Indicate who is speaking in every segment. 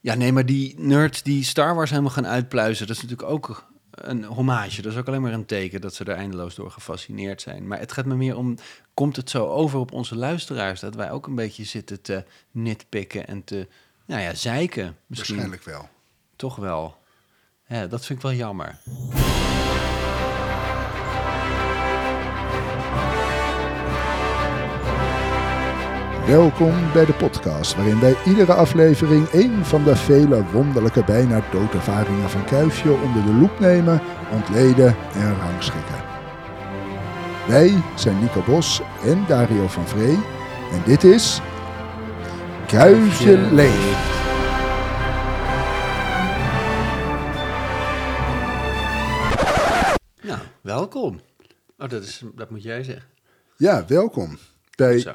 Speaker 1: Ja, nee, maar die nerds die Star Wars helemaal gaan uitpluizen, dat is natuurlijk ook een hommage. Dat is ook alleen maar een teken dat ze er eindeloos door gefascineerd zijn. Maar het gaat me meer om, komt het zo over op onze luisteraars dat wij ook een beetje zitten te nitpikken en te, nou ja, zeiken misschien.
Speaker 2: Waarschijnlijk wel.
Speaker 1: Toch wel. Ja, dat vind ik wel jammer.
Speaker 2: Welkom bij de podcast waarin bij iedere aflevering een van de vele wonderlijke bijna doodervaringen van Kuifje onder de loep nemen, ontleden en rangschikken. Wij zijn Nico Bos en Dario van Vree en dit is Kuifje Leeft.
Speaker 1: Nou, welkom. Oh, dat, is, dat moet jij zeggen.
Speaker 2: Ja, welkom. Bij,
Speaker 1: Zo.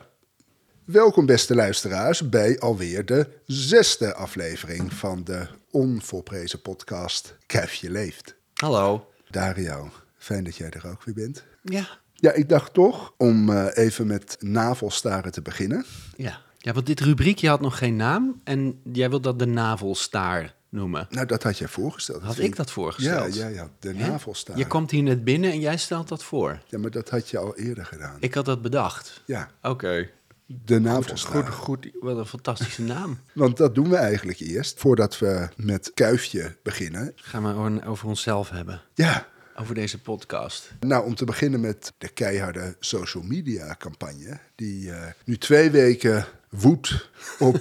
Speaker 2: welkom beste luisteraars bij alweer de zesde aflevering van de onvolprezen podcast Kuifje Leeft.
Speaker 1: Hallo.
Speaker 2: Dario, fijn dat jij er ook weer bent.
Speaker 1: Ja.
Speaker 2: Ja, ik dacht toch om eh, even met navelstaren te beginnen.
Speaker 1: Ja. ja, want dit rubriekje had nog geen naam en jij wilt dat de navelstaar noemen.
Speaker 2: Nou, dat had jij voorgesteld.
Speaker 1: Had
Speaker 2: vind
Speaker 1: ik dat voorgesteld?
Speaker 2: Ja, ja, ja. De
Speaker 1: Hè?
Speaker 2: navelstaar.
Speaker 1: Je komt hier net binnen en jij stelt dat voor.
Speaker 2: Ja, maar dat had je al eerder gedaan.
Speaker 1: Ik had dat bedacht.
Speaker 2: Ja,
Speaker 1: Oké.
Speaker 2: de navelstaar.
Speaker 1: Goed, goed. Wat een fantastische naam.
Speaker 2: Want dat doen we eigenlijk eerst, voordat we met kuifje beginnen.
Speaker 1: Gaan we gewoon over onszelf hebben.
Speaker 2: Ja,
Speaker 1: Over deze podcast.
Speaker 2: nou om te beginnen met de keiharde social media campagne. Die eh, nu twee weken woedt op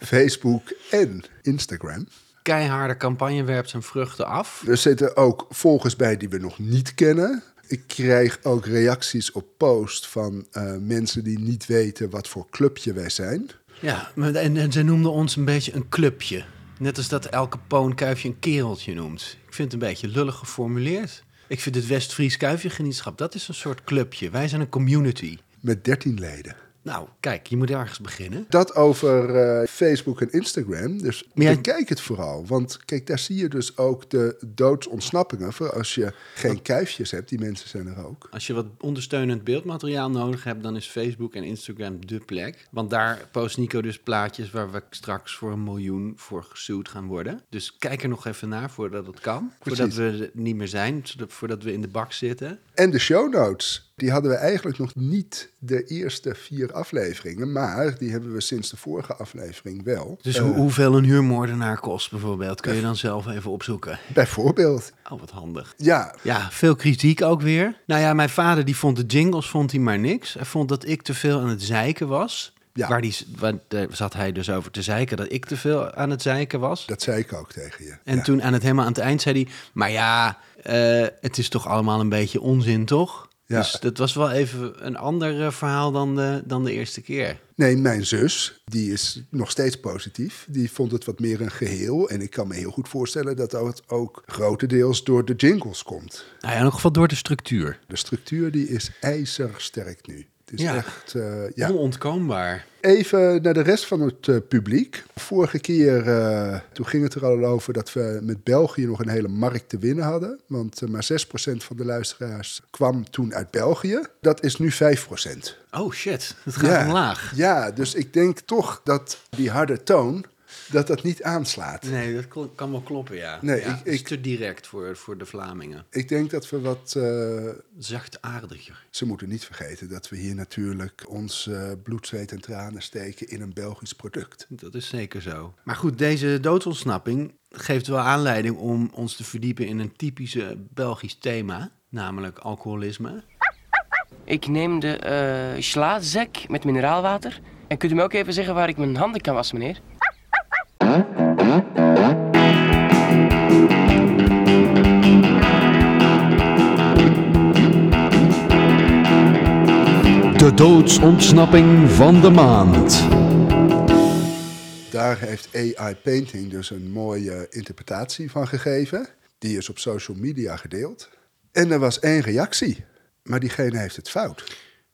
Speaker 2: Facebook en Instagram.
Speaker 1: Keiharde campagne werpt zijn vruchten af.
Speaker 2: Er zitten ook volgers bij die we nog niet kennen. Ik krijg ook reacties op posts van eh, mensen die niet weten wat voor clubje wij zijn.
Speaker 1: Ja, maar- en, en zij noemden ons een beetje een clubje. Net als dat elke poonkuifje een kereltje noemt. Ik vind het een beetje lullig geformuleerd. Ik vind het West-Fries kuifjegenietschap, dat is een soort clubje. Wij zijn een community.
Speaker 2: Met 13 leden.
Speaker 1: Nou, kijk, je moet ergens beginnen.
Speaker 2: Dat over eh, Facebook en Instagram. Dus
Speaker 1: Maar jij-
Speaker 2: bekijk het vooral. Want kijk, daar zie je dus ook de doodsontsnappingen. Voor als je geen kuifjes hebt, die mensen zijn er ook.
Speaker 1: Als je wat ondersteunend beeldmateriaal nodig hebt, dan is Facebook en Instagram de plek. Want daar post Nico dus plaatjes waar we straks voor een miljoen voor gesuwd gaan worden. Dus kijk er nog even naar voordat het kan. Voordat we er niet meer zijn, zodat- voordat we in de bak zitten.
Speaker 2: En de show notes, die hadden we eigenlijk nog niet de eerste vier afleveringen. Maar die hebben we sinds de vorige aflevering wel.
Speaker 1: Dus
Speaker 2: Eh,
Speaker 1: hoe- hoeveel een huurmoordenaar kost bijvoorbeeld, kun je dan zelf even opzoeken.
Speaker 2: Bijvoorbeeld.
Speaker 1: Oh, wat handig.
Speaker 2: Ja,
Speaker 1: Ja, veel kritiek ook weer. Nou ja, mijn vader die vond de jingles vond hij maar niks. Hij vond dat ik te veel aan het zeiken was.
Speaker 2: Ja.
Speaker 1: Waar, die, waar daar zat hij dus over te zeiken dat ik te veel aan het zeiken was.
Speaker 2: dat zei ik ook tegen je.
Speaker 1: En
Speaker 2: Ja.
Speaker 1: toen aan het helemaal aan het eind zei hij... maar ja, eh, het is toch allemaal een beetje onzin, toch?
Speaker 2: Ja.
Speaker 1: Dus dat was wel even een ander eh, verhaal dan de, dan de eerste keer.
Speaker 2: Nee, mijn zus, die is nog steeds positief. Die vond het wat meer een geheel. En ik kan me heel goed voorstellen dat dat ook grotendeels door de jingles komt.
Speaker 1: Nou ja, in elk geval door de structuur.
Speaker 2: De structuur die is ijzersterk nu. Het is
Speaker 1: Ja.
Speaker 2: echt... eh, ja.
Speaker 1: Onontkoombaar.
Speaker 2: Even naar de rest van het eh, publiek. Vorige keer, eh, toen ging het er al over dat we met België nog een hele markt te winnen hadden. Want eh, maar 6% van de luisteraars kwam toen uit België. Dat is nu 5%.
Speaker 1: Oh shit, het gaat omlaag.
Speaker 2: Ja, dus ik denk toch dat die harde toon, dat dat niet aanslaat.
Speaker 1: Nee, dat kl- kan wel kloppen, ja.
Speaker 2: Nee,
Speaker 1: ja,
Speaker 2: ik-
Speaker 1: het is
Speaker 2: ik-
Speaker 1: te direct voor, voor de Vlamingen.
Speaker 2: Ik denk dat we wat... eh,
Speaker 1: Zachtaardiger.
Speaker 2: ze moeten niet vergeten dat we hier natuurlijk ons eh, bloed, zweet en tranen steken in een Belgisch product.
Speaker 1: Dat is zeker zo. Maar goed, deze doodsontsnapping geeft wel aanleiding om ons te verdiepen in een typische Belgisch thema. Namelijk alcoholisme.
Speaker 3: Ik neem de eh slaazek met mineraalwater. En kunt u me ook even zeggen waar ik mijn handen kan wassen, meneer?
Speaker 4: De doodsontsnapping van de maand.
Speaker 2: Daar heeft AI Painting dus een mooie interpretatie van gegeven. Die is op social media gedeeld. En er was één reactie, maar diegene heeft het fout.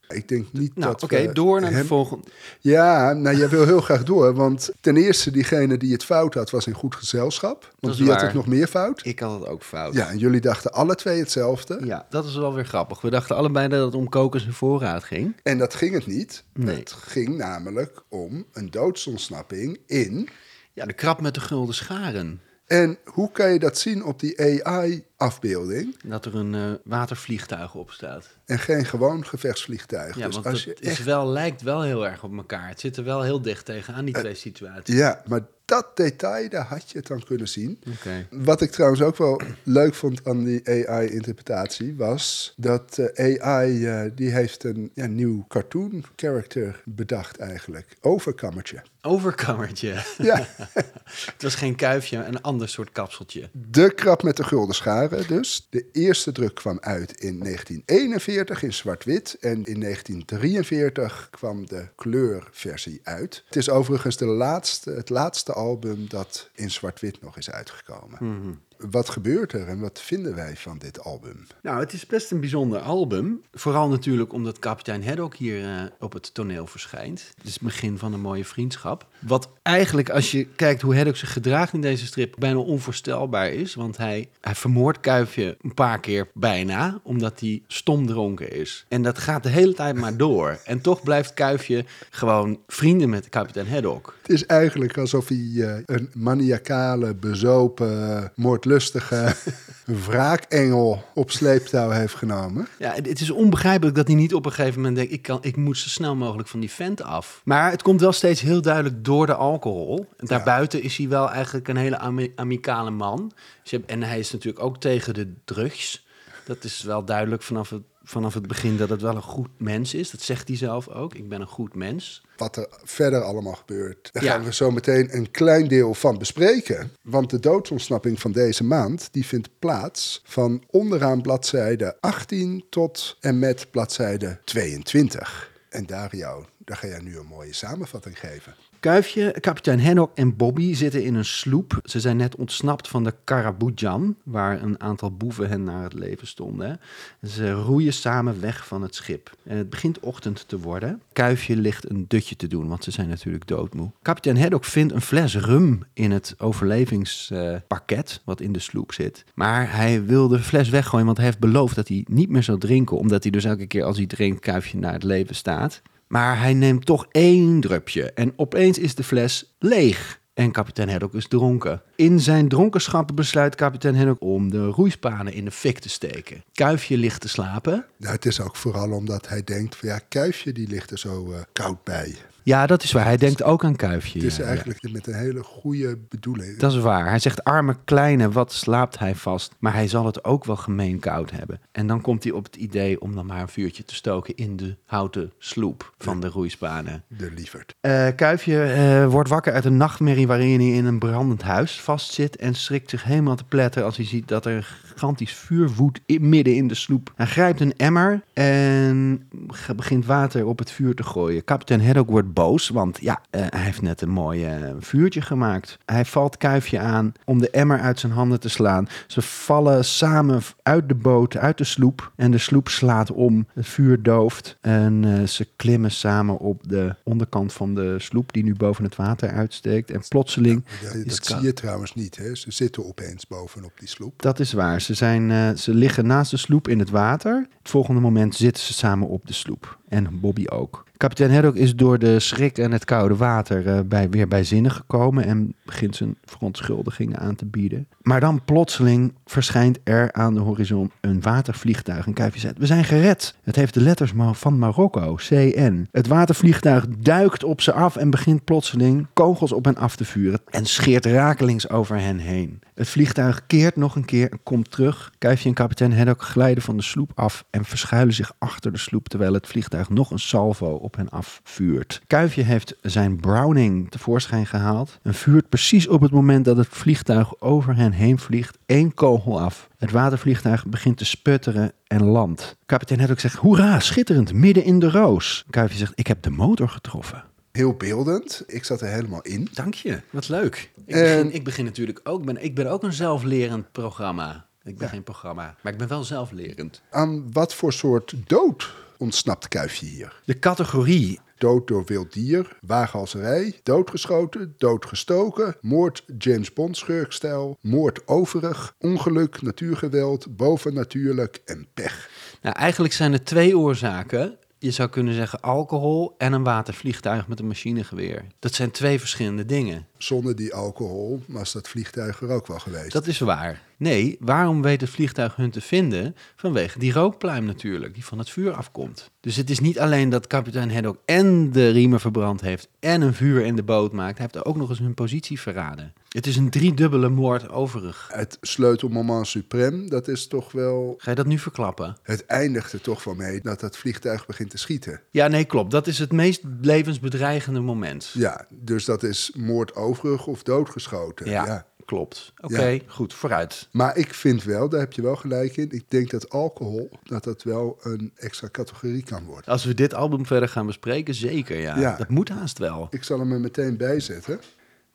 Speaker 2: Ik denk niet
Speaker 1: Nou,
Speaker 2: dat
Speaker 1: oké,
Speaker 2: we
Speaker 1: door naar de
Speaker 2: hem-
Speaker 1: volgende.
Speaker 2: Ja, nou, jij wil heel graag door. Want ten eerste, diegene die het fout had, was in goed gezelschap.
Speaker 1: Dat
Speaker 2: Want
Speaker 1: is
Speaker 2: wie had
Speaker 1: waar.
Speaker 2: het nog meer fout?
Speaker 1: Ik had het ook fout.
Speaker 2: Ja, en jullie dachten alle twee hetzelfde.
Speaker 1: Ja, dat is wel weer grappig. We dachten allebei dat het om kokers en voorraad ging.
Speaker 2: En dat ging het niet.
Speaker 1: Nee.
Speaker 2: Het ging namelijk om een doodsontsnapping in
Speaker 1: Ja, de krab met de gulden scharen.
Speaker 2: En hoe kan je dat zien op die AI-afbeelding
Speaker 1: Dat er een eh, watervliegtuig op staat.
Speaker 2: en geen gewoon gevechtsvliegtuig?
Speaker 1: Ja,
Speaker 2: dus
Speaker 1: want
Speaker 2: als
Speaker 1: het
Speaker 2: je
Speaker 1: is
Speaker 2: echt...
Speaker 1: wel, lijkt wel heel erg op elkaar. Het zit er wel heel dicht tegenaan,
Speaker 2: Eh,
Speaker 1: die twee situaties.
Speaker 2: ja, maar dat detail, daar had je het dan kunnen zien.
Speaker 1: Oké.
Speaker 2: Wat ik trouwens ook wel leuk vond aan die AI-interpretatie was dat eh, AI eh, die heeft een ja, nieuw cartoon character bedacht eigenlijk. Overkammertje.
Speaker 1: Overkammertje.
Speaker 2: Ja,
Speaker 1: het was geen kuifje, een ander soort kapseltje.
Speaker 2: de krab met de gulden scharen dus. De eerste druk kwam uit in 1941 in zwart-wit en in 1943 kwam de kleurversie uit. Het is overigens de laatste, het laatste album dat in zwart-wit nog is uitgekomen. Wat gebeurt er en wat vinden wij van dit album?
Speaker 1: Nou, het is best een bijzonder album. Vooral natuurlijk omdat kapitein Haddock hier eh, op het toneel verschijnt. Het is het begin van een mooie vriendschap. Wat eigenlijk, als je kijkt hoe Haddock zich gedraagt in deze strip, bijna onvoorstelbaar is. Want hij, hij vermoordt Kuifje een paar keer bijna, omdat hij stom dronken is. En dat gaat de hele tijd maar door. En toch blijft Kuifje gewoon vrienden met kapitein Haddock.
Speaker 2: Het is eigenlijk alsof hij eh, een maniacale, bezopen, moordlustige wraakengel op sleeptouw heeft genomen.
Speaker 1: Ja, het het is onbegrijpelijk dat hij niet op een gegeven moment denkt... Ik, kan, ik moet zo snel mogelijk van die vent af. Maar het komt wel steeds heel duidelijk door de alcohol. En daarbuiten is hij wel eigenlijk een hele ami- amicale man. Dus je hebt- en hij is natuurlijk ook tegen de drugs. Dat is wel duidelijk vanaf het, vanaf het begin dat het wel een goed mens is. Dat zegt hij zelf ook. Ik ben een goed mens.
Speaker 2: Wat er verder allemaal gebeurt, daar
Speaker 1: Ja.
Speaker 2: gaan we zo meteen een klein deel van bespreken. Want de doodsontsnapping van deze maand, die vindt plaats van onderaan bladzijde 18 tot en met bladzijde 22. En Dario, daar ga jij nu een mooie samenvatting geven.
Speaker 1: Kuifje, kapitein Henok en Bobby zitten in een sloep. Ze zijn net ontsnapt van de Karaboudjan, waar een aantal boeven hen naar het leven stonden. Ze roeien samen weg van het schip. En het begint ochtend te worden. Kuifje ligt een dutje te doen, want ze zijn natuurlijk doodmoe. Kapitein Haddock vindt een fles rum in het overlevingspakket eh, wat in de sloep zit. Maar hij wil de fles weggooien, want hij heeft beloofd dat hij niet meer zou drinken. Omdat hij dus elke keer als hij drinkt, Kuifje naar het leven staat. Maar hij neemt toch één drupje en opeens is de fles leeg. En kapitein Haddock is dronken. In zijn dronkenschap besluit kapitein Haddock om de roeispanen in de fik te steken. Kuifje ligt te slapen.
Speaker 2: Nou, het is ook vooral omdat hij denkt van ja, Kuifje die ligt er zo eh, koud bij.
Speaker 1: Ja, dat is waar. Hij denkt ook aan Kuifje.
Speaker 2: Het is
Speaker 1: ja, ja.
Speaker 2: eigenlijk met een hele goede bedoeling.
Speaker 1: Dat is waar. Hij zegt, arme kleine, wat slaapt hij vast. Maar hij zal het ook wel gemeen koud hebben. En dan komt hij op het idee om dan maar een vuurtje te stoken in de houten sloep van de roeispanen.
Speaker 2: De lieverd.
Speaker 1: Eh, Kuifje eh, wordt wakker uit een nachtmerrie waarin hij in een brandend huis vastzit en schrikt zich helemaal te pletter als hij ziet dat er gigantisch vuur woedt in, midden in de sloep. Hij grijpt een emmer en ge- begint water op het vuur te gooien. Kapitein Haddock wordt boos, want ja, eh, hij heeft net een mooi eh, vuurtje gemaakt. Hij valt Kuifje aan om de emmer uit zijn handen te slaan. Ze vallen samen uit de boot, uit de sloep en de sloep slaat om. Het vuur dooft en eh, ze klimmen samen op de onderkant van de sloep die nu boven het water uitsteekt. En plotseling,
Speaker 2: Ja,
Speaker 1: is
Speaker 2: dat
Speaker 1: koud.
Speaker 2: zie je trouwens niet. Hè? Ze zitten opeens bovenop die sloep.
Speaker 1: dat is waar, ze, zijn, eh, ze liggen naast de sloep in het water. Het volgende moment zitten ze samen op de sloep en Bobby ook. Kapitein Haddock is door de schrik en het koude water eh, bij, weer bij zinnen gekomen en begint zijn verontschuldigingen aan te bieden. Maar dan plotseling verschijnt er aan de horizon een watervliegtuig. En Kuifje zegt, we zijn gered. Het heeft de letters Ma- van Marokko, CN. Het watervliegtuig duikt op ze af en begint plotseling kogels op hen af te vuren. En scheert rakelings over hen heen. Het vliegtuig keert nog een keer en komt terug. Kuifje en kapitein Haddock glijden van de sloep af en verschuilen zich achter de sloep terwijl het vliegtuig nog een salvo op hen afvuurt. Kuifje heeft zijn Browning tevoorschijn gehaald en vuurt precies op het moment dat het vliegtuig over hen heen vliegt één kogel af. Het watervliegtuig begint te sputteren en landt. Kapitein Haddock zegt, hoera, schitterend, midden in de roos. Kuifje zegt, ik heb de motor getroffen.
Speaker 2: Heel beeldend. Ik zat er helemaal in.
Speaker 1: Dank je, wat leuk. Ik,
Speaker 2: En-
Speaker 1: begin, ik begin natuurlijk ook, ben, ik ben ook een zelflerend programma. Ik ben geen programma, maar ik ben wel zelflerend.
Speaker 2: Aan wat voor soort dood ontsnapt Kuifje hier?
Speaker 1: De categorie
Speaker 2: Dood door wild dier, waaghalserij, doodgeschoten, doodgestoken, moord James Bond schurkstijl, moord overig, ongeluk, natuurgeweld, bovennatuurlijk en pech.
Speaker 1: Nou, eigenlijk zijn er twee oorzaken. Je zou kunnen zeggen alcohol en een watervliegtuig met een machinegeweer. Dat zijn twee verschillende dingen.
Speaker 2: zonder die alcohol was dat vliegtuig er ook wel geweest.
Speaker 1: Dat is waar. Nee, waarom weet het vliegtuig hun te vinden? Vanwege die rookpluim natuurlijk, die van het vuur afkomt. Dus het is niet alleen dat kapitein Haddock en de riemen verbrand heeft... en een vuur in de boot maakt. Hij heeft ook nog eens hun positie verraden. Het is een driedubbele moord overig.
Speaker 2: Het sleutelmoment suprem, dat is toch wel...
Speaker 1: Ga je dat nu verklappen?
Speaker 2: Het eindigt er toch wel mee dat dat vliegtuig begint te schieten.
Speaker 1: Ja, nee, klopt. Dat is het meest levensbedreigende moment.
Speaker 2: Ja, dus dat is moord overig of doodgeschoten.
Speaker 1: Ja,
Speaker 2: ja.
Speaker 1: klopt. Oké,
Speaker 2: Ja.
Speaker 1: goed, vooruit.
Speaker 2: Maar ik vind wel, daar heb je wel gelijk in. Ik denk dat alcohol, dat dat wel een extra categorie kan worden.
Speaker 1: Als we dit album verder gaan bespreken, zeker ja.
Speaker 2: Ja.
Speaker 1: Dat moet haast wel.
Speaker 2: Ik zal hem er meteen bij zetten.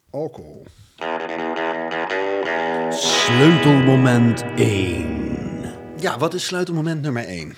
Speaker 2: Alcohol.
Speaker 1: Sleutelmoment 1. Ja, wat is sleutelmoment nummer 1?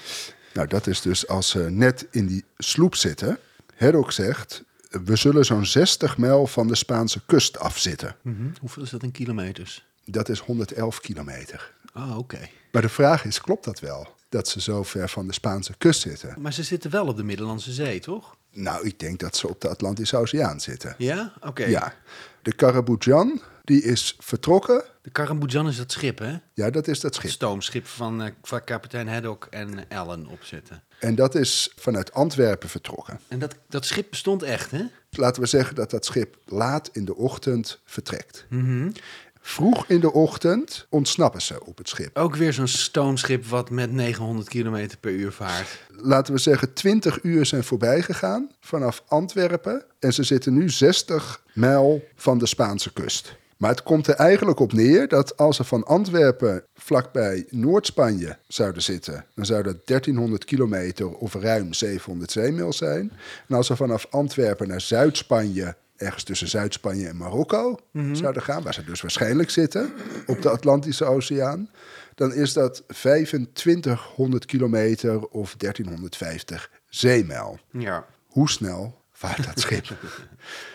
Speaker 2: Nou, dat is dus als ze net in die sloep zitten. Herok zegt, we zullen zo'n 60 mijl van de Spaanse kust afzitten.
Speaker 1: Mhm. Hoeveel is dat in kilometers?
Speaker 2: Dat is 111 kilometer.
Speaker 1: Oh, oké.
Speaker 2: Maar de vraag is, klopt dat wel? Dat ze zo ver van de Spaanse kust zitten?
Speaker 1: Maar ze zitten wel op de Middellandse Zee, toch?
Speaker 2: Nou, ik denk dat ze op de Atlantische Oceaan zitten.
Speaker 1: Ja? Oké.
Speaker 2: Ja. De Karaboudjan, die is vertrokken.
Speaker 1: De Karamboudjan is dat schip, hè?
Speaker 2: Ja, dat is dat
Speaker 1: Het
Speaker 2: schip.
Speaker 1: stoomschip van, eh, waar kapitein Haddock en Ellen op zitten.
Speaker 2: En dat is vanuit Antwerpen vertrokken.
Speaker 1: En dat, dat schip bestond echt, hè?
Speaker 2: Laten we zeggen dat dat schip laat in de ochtend vertrekt. Vroeg in de ochtend ontsnappen ze op het schip.
Speaker 1: Ook weer zo'n stoomschip wat met 900 km per uur vaart.
Speaker 2: Laten we zeggen 20 uur zijn voorbij gegaan vanaf Antwerpen. En ze zitten nu 60 mijl van de Spaanse kust. Maar het komt er eigenlijk op neer dat als ze van Antwerpen vlakbij Noord-Spanje zouden zitten, dan zou dat 1300 kilometer of ruim 700 zeemijl zijn. En als ze vanaf Antwerpen naar Zuid-Spanje, ergens tussen Zuid-Spanje en Marokko, zouden gaan, waar ze dus waarschijnlijk zitten, op de Atlantische Oceaan, dan is dat 2500 kilometer of 1350 zeemijl.
Speaker 1: Ja.
Speaker 2: Hoe snel vaart dat schip?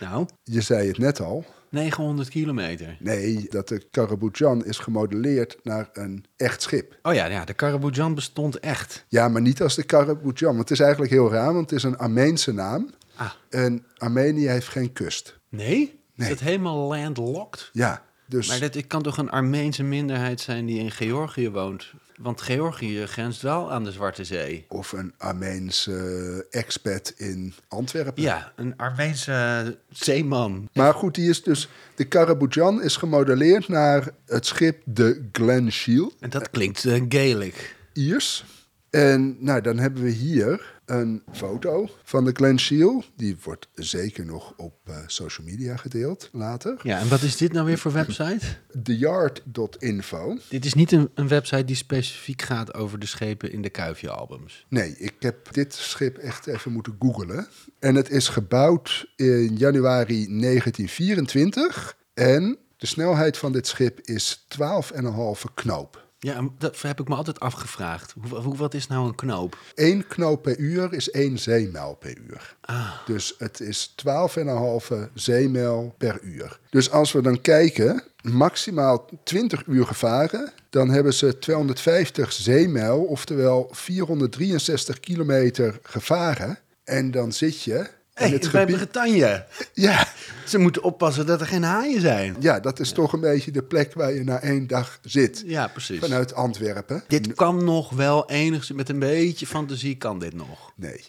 Speaker 1: Nou,
Speaker 2: Je zei het net al.
Speaker 1: 900 kilometer.
Speaker 2: Nee, dat de Karaboudjan is gemodelleerd naar een echt schip.
Speaker 1: Oh ja, ja de Karaboudjan bestond echt.
Speaker 2: Ja, maar niet als de Karaboudjan. Want het is eigenlijk heel raar, want het is een Armeense naam.
Speaker 1: Ah.
Speaker 2: En Armenië heeft geen kust.
Speaker 1: Nee?
Speaker 2: Nee.
Speaker 1: Is dat helemaal landlocked?
Speaker 2: Ja, dus
Speaker 1: Maar dat ik kan toch een Armeense minderheid zijn die in Georgië woont? Want Georgië grenst wel aan de Zwarte Zee.
Speaker 2: of een Armeense expat in Antwerpen.
Speaker 1: Ja, een Armeense zeeman.
Speaker 2: Maar goed, die is dus de Karaboudjan is gemodelleerd naar het schip de Glen Shield.
Speaker 1: En dat klinkt eh, Gaelic.
Speaker 2: Iers. En nou, dan hebben we hier een foto van de Glen Shiel. Die wordt zeker nog op eh, social media gedeeld later.
Speaker 1: Ja, en wat is dit nou weer voor website?
Speaker 2: Theyard.info.
Speaker 1: Dit is niet een, een website die specifiek gaat over de schepen in de Kuifje-albums.
Speaker 2: Nee, ik heb dit schip echt even moeten googlen. En het is gebouwd in januari 1924. En de snelheid van dit schip is 12,5 knoop.
Speaker 1: Ja, en dat heb ik me altijd afgevraagd. Hoe, hoe, wat is nou een knoop?
Speaker 2: Eén knoop per uur is één zeemijl per uur.
Speaker 1: Ah.
Speaker 2: Dus het is 12,5 zeemijl per uur. Dus als we dan kijken, maximaal 20 uur gevaren, dan hebben ze 250 zeemijl, oftewel 463 kilometer gevaren. En dan zit je
Speaker 1: Hey,
Speaker 2: in het
Speaker 1: bij
Speaker 2: gebied.
Speaker 1: Bretagne.
Speaker 2: Ja,
Speaker 1: Ze moeten oppassen dat er geen haaien zijn.
Speaker 2: ja, dat is toch een beetje de plek waar je na één dag zit.
Speaker 1: Ja, precies.
Speaker 2: Vanuit Antwerpen.
Speaker 1: Dit kan nog wel enigszins, met een beetje fantasie kan dit nog.
Speaker 2: Nee.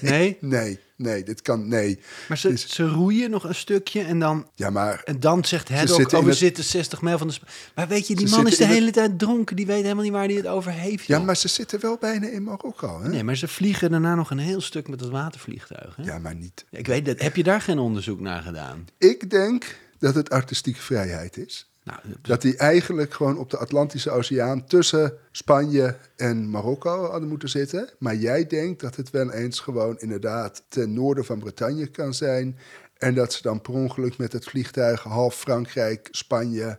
Speaker 1: Nee?
Speaker 2: Nee, nee, dit kan. Nee.
Speaker 1: Maar ze, ze roeien nog een stukje en dan,
Speaker 2: Ja, maar
Speaker 1: en dan zegt Haddock, oh
Speaker 2: zitten in
Speaker 1: we
Speaker 2: het-
Speaker 1: zitten 60 mijl van de... Sp maar weet je, die
Speaker 2: Ze
Speaker 1: man is de
Speaker 2: zitten in
Speaker 1: hele tijd dronken. Die weet helemaal niet waar hij het over heeft.
Speaker 2: Ja,
Speaker 1: joh.
Speaker 2: maar ze zitten wel bijna in Marokko, hè?
Speaker 1: Nee, maar ze vliegen daarna nog een heel stuk met dat watervliegtuig. Hè?
Speaker 2: Ja, maar niet.
Speaker 1: Ik weet dat. Heb je daar geen onderzoek naar gedaan?
Speaker 2: Ik denk dat het artistieke vrijheid is.
Speaker 1: Nou,
Speaker 2: Dat die eigenlijk gewoon op de Atlantische Oceaan tussen Spanje en Marokko hadden moeten zitten. Maar jij denkt dat het wel eens gewoon inderdaad ten noorden van Bretagne kan zijn. En dat ze dan per ongeluk met het vliegtuig half Frankrijk, Spanje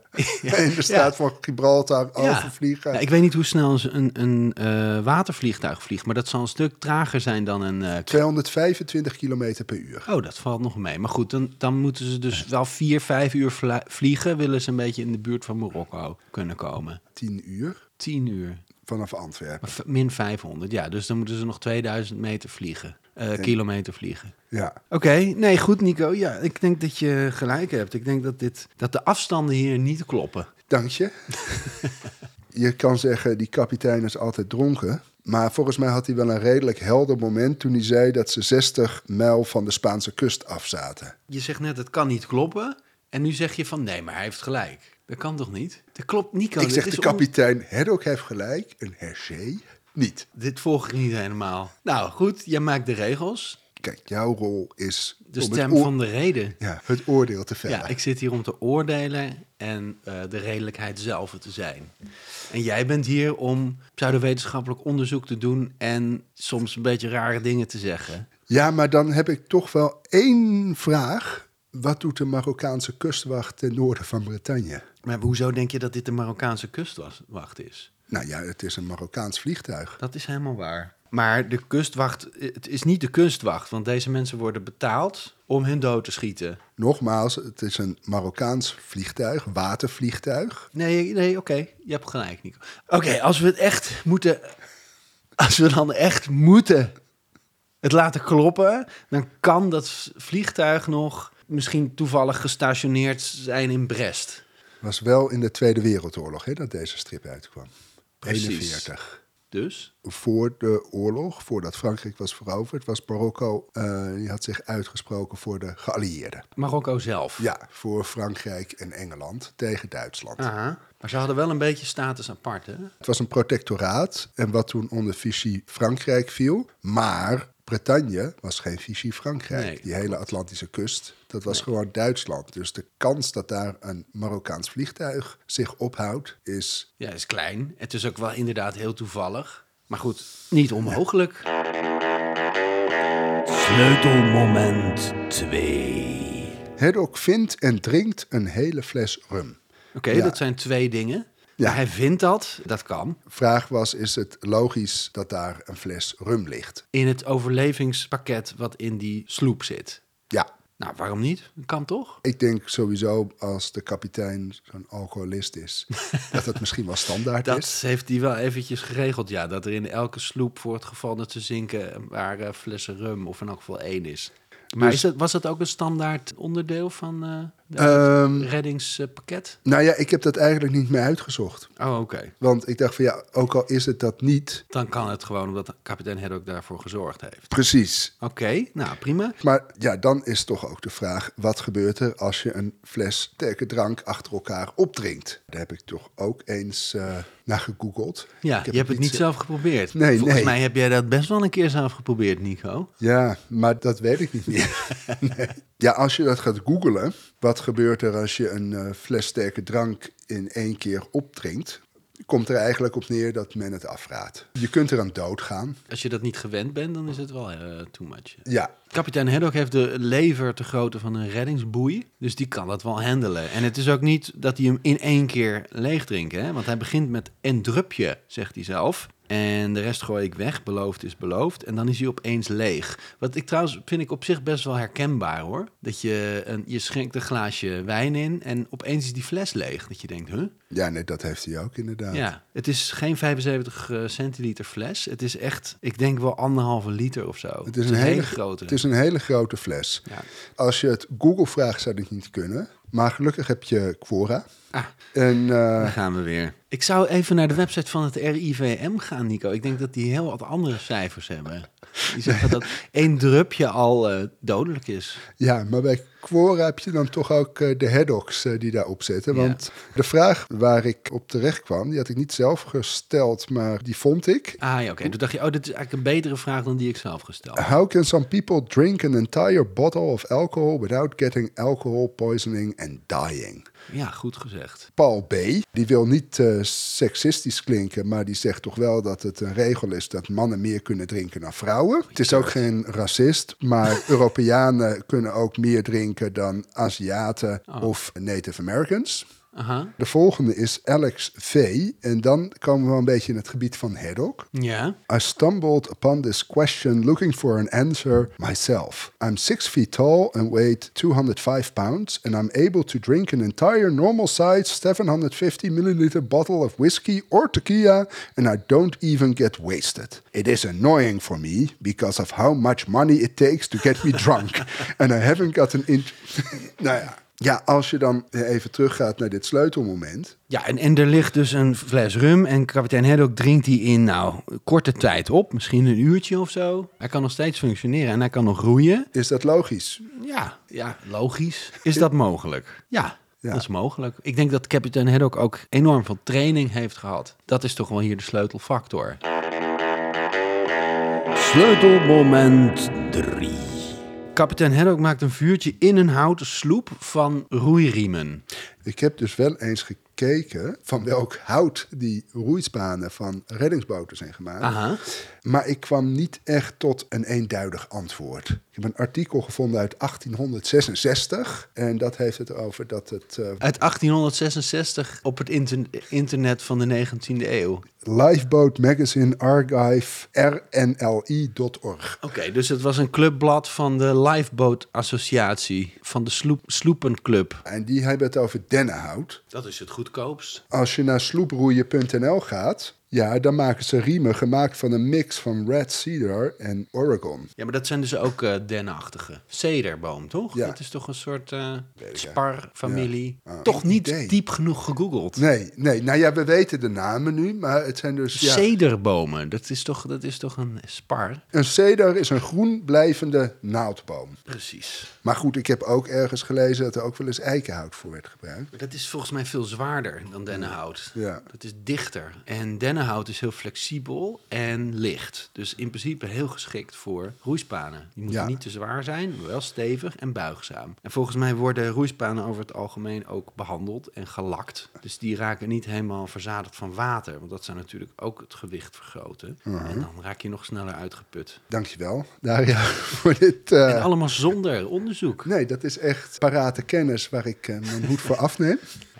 Speaker 2: en de staat van Gibraltar overvliegen.
Speaker 1: Ja, ik weet niet hoe snel een, een eh, watervliegtuig vliegt, maar dat zal een stuk trager zijn dan een... eh,
Speaker 2: 225 kilometer per uur.
Speaker 1: Oh, dat valt nog mee. Maar goed, dan, dan moeten ze dus wel vier, vijf uur vla- vliegen. Willen ze een beetje in de buurt van Marokko kunnen komen.
Speaker 2: 10 uur
Speaker 1: Tien uur.
Speaker 2: vanaf Antwerpen.
Speaker 1: Maar v- Min 500, ja. Dus dan moeten ze nog 2000 meter vliegen. eh, kilometer vliegen.
Speaker 2: Ja.
Speaker 1: Oké, nee, goed Nico. Ja, ik denk dat je gelijk hebt. Ik denk dat, dit, dat de afstanden hier niet kloppen.
Speaker 2: Dank je. je kan zeggen, die kapitein is altijd dronken. Maar volgens mij had hij wel een redelijk helder moment toen hij zei dat ze 60 mijl van de Spaanse kust afzaten.
Speaker 1: Je zegt net, het kan niet kloppen. En nu zeg je van, nee, maar hij heeft gelijk. Dat kan toch niet? Dat klopt Nico.
Speaker 2: Ik
Speaker 1: dit
Speaker 2: zeg,
Speaker 1: is
Speaker 2: de
Speaker 1: on-
Speaker 2: kapitein Haddock heeft gelijk, een hergé niet.
Speaker 1: Dit volg ik niet helemaal. Nou, goed, jij maakt de regels.
Speaker 2: Kijk, jouw rol is
Speaker 1: De
Speaker 2: om het
Speaker 1: stem
Speaker 2: oor-
Speaker 1: van de reden.
Speaker 2: ja, het oordeel te vellen.
Speaker 1: Ja, ik zit hier om te oordelen en eh, de redelijkheid zelf te zijn. En jij bent hier om pseudowetenschappelijk onderzoek te doen en soms een beetje rare dingen te zeggen.
Speaker 2: Ja, maar dan heb ik toch wel één vraag. Wat doet de Marokkaanse kustwacht ten noorden van Bretagne?
Speaker 1: Maar hoezo denk je dat dit de Marokkaanse kustwacht is?
Speaker 2: Nou ja, het is een Marokkaans vliegtuig.
Speaker 1: Dat is helemaal waar. Maar de kustwacht, het is niet de kustwacht, want deze mensen worden betaald om hun dood te schieten.
Speaker 2: Nogmaals, het is een Marokkaans vliegtuig, watervliegtuig.
Speaker 1: Nee, nee, oké. Je hebt gelijk, Nico. Oké, als we het echt moeten... Als we dan echt moeten het laten kloppen... dan kan dat vliegtuig nog misschien toevallig gestationeerd zijn in Brest.
Speaker 2: Was wel in de Tweede Wereldoorlog hè, dat deze strip uitkwam.
Speaker 1: Precies.
Speaker 2: 41.
Speaker 1: Dus?
Speaker 2: Voor de oorlog, voordat Frankrijk was veroverd, was Marokko, eh, die had zich uitgesproken voor de geallieerden.
Speaker 1: Marokko zelf.
Speaker 2: Ja, voor Frankrijk en Engeland tegen Duitsland.
Speaker 1: Aha. Maar ze hadden wel een beetje status apart, hè?
Speaker 2: Het was een protectoraat en wat toen onder Vichy Frankrijk viel. Maar Bretagne was geen Vichy Frankrijk.
Speaker 1: Nee.
Speaker 2: Die hele Atlantische kust, dat was gewoon Duitsland. Dus de kans dat daar een Marokkaans vliegtuig zich ophoudt is...
Speaker 1: Ja, is klein. Het is ook wel inderdaad heel toevallig. Maar goed, niet onmogelijk.
Speaker 4: Sleutelmoment 2.
Speaker 2: Haddock vindt en drinkt een hele fles rum.
Speaker 1: Oké,
Speaker 2: Ja.
Speaker 1: dat zijn twee dingen.
Speaker 2: Ja.
Speaker 1: Maar Hij vindt dat, dat kan.
Speaker 2: Vraag was, is het logisch dat daar een fles rum ligt?
Speaker 1: In het overlevingspakket wat in die sloep zit.
Speaker 2: Ja,
Speaker 1: Nou, waarom niet? Kan toch?
Speaker 2: ik denk sowieso als de kapitein zo'n alcoholist is... dat dat misschien wel standaard
Speaker 1: Dat
Speaker 2: is.
Speaker 1: heeft hij wel eventjes geregeld, ja. Dat er in elke sloep voor het geval dat ze zinken... een paar eh, flessen rum of in elk geval één is. Maar
Speaker 2: Dus-
Speaker 1: is dat, was dat ook een standaard onderdeel van eh het
Speaker 2: Ehm,
Speaker 1: reddingspakket?
Speaker 2: nou ja, ik heb dat eigenlijk niet meer uitgezocht.
Speaker 1: Oh, oké.
Speaker 2: Want ik dacht van ja, ook al is het dat niet.
Speaker 1: Dan kan het gewoon omdat kapitein Haddock daarvoor gezorgd heeft.
Speaker 2: Precies.
Speaker 1: Oké, nou prima.
Speaker 2: Maar ja, dan is toch ook de vraag: wat gebeurt er als je een fles sterke drank achter elkaar opdrinkt? Daar heb ik toch ook eens eh, naar gegoogeld.
Speaker 1: Ja,
Speaker 2: Ik
Speaker 1: je
Speaker 2: heb
Speaker 1: hebt het niet zelf geprobeerd.
Speaker 2: Nee,
Speaker 1: Volgens
Speaker 2: nee.
Speaker 1: mij heb jij dat best wel een keer zelf geprobeerd, Nico.
Speaker 2: Ja, maar dat weet ik niet meer. Nee. Ja, als je dat gaat googelen, wat gebeurt er als je een eh, fles sterke drank in één keer opdrinkt? Komt er eigenlijk op neer dat men het afraadt. Je kunt eraan doodgaan.
Speaker 1: Als je dat niet gewend bent, dan is het wel eh, too much.
Speaker 2: Ja,
Speaker 1: Kapitein Haddock heeft de lever te grootte van een reddingsboei. Dus die kan dat wel handelen. En het is ook niet dat hij hem in één keer leeg drinkt. Hè? Want hij begint met een drupje, zegt hij zelf. En de rest gooi ik weg. Beloofd is beloofd. En dan is hij opeens leeg. Wat ik trouwens vind ik op zich best wel herkenbaar hoor. Dat je, een, je schenkt een glaasje wijn in en opeens is die fles leeg. Dat je denkt, huh?
Speaker 2: ja nee, dat heeft hij ook inderdaad.
Speaker 1: Ja, het is geen 75 eh, centiliter fles. Het is echt, ik denk wel anderhalve liter of zo.
Speaker 2: Het is, een hele,
Speaker 1: grote.
Speaker 2: Het is een hele grote fles.
Speaker 1: Ja.
Speaker 2: Als je het Google vraagt, zou dit niet kunnen. Maar gelukkig heb je Quora.
Speaker 1: Ah.
Speaker 2: En eh,
Speaker 1: Daar gaan we weer. Ik zou even naar de website van het RIVM gaan, Nico. Ik denk dat die heel wat andere cijfers hebben. Die zeggen dat één drupje al eh, dodelijk is.
Speaker 2: ja, maar bij Quora heb je dan toch ook eh, de headocs eh, die daarop zitten.
Speaker 1: Ja.
Speaker 2: Want de vraag waar ik op terecht kwam, die had ik niet zelf gesteld, maar die vond ik.
Speaker 1: Ah ja, oké. Toen dacht je, oh, dit is eigenlijk een betere vraag dan die ik zelf gesteld. heb.
Speaker 2: How can some people drink an entire bottle of alcohol without getting alcohol poisoning and dying?
Speaker 1: Ja, goed gezegd.
Speaker 2: Paul B., die wil niet eh, seksistisch klinken, maar die zegt toch wel dat het een regel is dat mannen meer kunnen drinken dan vrouwen. Het is ook geen racist, maar Europeanen kunnen ook meer drinken dan Aziaten of Native Americans.
Speaker 1: Aha.
Speaker 2: De volgende is Alex V. En dan komen we een beetje in het gebied van Haddock.
Speaker 1: Ja.
Speaker 2: I stumbled upon this question looking for an answer myself. I'm six feet tall and weighed 205 pounds, and I'm able to drink an entire normal size 750 milliliter bottle of whiskey or tequila, and I don't even get wasted. It is annoying for me because of how much money it takes to get me drunk, and I haven't got an inch. nou ja. Ja, als je dan even teruggaat naar dit sleutelmoment.
Speaker 1: Ja, en, en er ligt dus een fles rum en kapitein Haddock drinkt die in, nou, korte tijd op. Misschien een uurtje of zo. Hij kan nog steeds functioneren en hij kan nog roeien.
Speaker 2: Is dat logisch?
Speaker 1: Ja, ja logisch. Is dat mogelijk? Ja,
Speaker 2: Ja.
Speaker 1: dat is mogelijk. Ik denk dat kapitein Haddock ook enorm veel training heeft gehad. Dat is toch wel hier de sleutelfactor.
Speaker 4: Sleutelmoment 3.
Speaker 1: Kapitein Haddock maakt een vuurtje in een houten sloep van roeiriemen.
Speaker 2: Ik heb dus wel eens gekeken van welk hout die roeisbanen van reddingsboten zijn gemaakt.
Speaker 1: Aha.
Speaker 2: Maar ik kwam niet echt tot een eenduidig antwoord. Ik heb een artikel gevonden uit 1866. En dat heeft het over dat het eh,
Speaker 1: Uit 1866 op het interne- internet van de 19e eeuw.
Speaker 2: Lifeboat Magazine Archive rnli.org.
Speaker 1: Oké, dus het was een clubblad van de Lifeboat Associatie, van de sloep, Sloepenclub.
Speaker 2: En die hebben het over dennenhout.
Speaker 1: Dat is het goedkoopst.
Speaker 2: Als je naar sloeproeien.nl gaat, ja, dan maken ze riemen gemaakt van een mix van red cedar en Oregon.
Speaker 1: Ja, maar dat zijn dus ook eh denachtige. Cederboom, toch?
Speaker 2: Ja.
Speaker 1: Dat is toch een soort eh spar-familie.
Speaker 2: Ja. Ah,
Speaker 1: toch
Speaker 2: geen
Speaker 1: niet
Speaker 2: idee.
Speaker 1: diep genoeg gegoogeld.
Speaker 2: Nee, nee. Nou ja, we weten de namen nu, maar het zijn dus... Ja,
Speaker 1: Cederbomen, dat is, toch, dat is toch een spar?
Speaker 2: een ceder is een groen blijvende naaldboom.
Speaker 1: Precies.
Speaker 2: Maar goed, ik heb ook ergens gelezen dat er ook wel eens eikenhout voor werd gebruikt.
Speaker 1: Dat is volgens mij veel zwaarder dan dennenhout.
Speaker 2: Ja.
Speaker 1: Dat is dichter. En dennenhout is heel flexibel en licht. Dus in principe heel geschikt voor roeispanen. Die moeten
Speaker 2: Ja.
Speaker 1: niet te zwaar zijn, maar wel stevig en buigzaam. En volgens mij worden roeispanen over het algemeen ook behandeld en gelakt. Dus die raken niet helemaal verzadigd van water. Want dat zou natuurlijk ook het gewicht vergroten.
Speaker 2: Uh-huh.
Speaker 1: En dan raak je nog sneller uitgeput.
Speaker 2: Dankjewel, Daria, voor dit... eh,
Speaker 1: En allemaal zonder onderzoek.
Speaker 2: Nee, dat is echt parate kennis waar ik eh, mijn hoed voor afneem.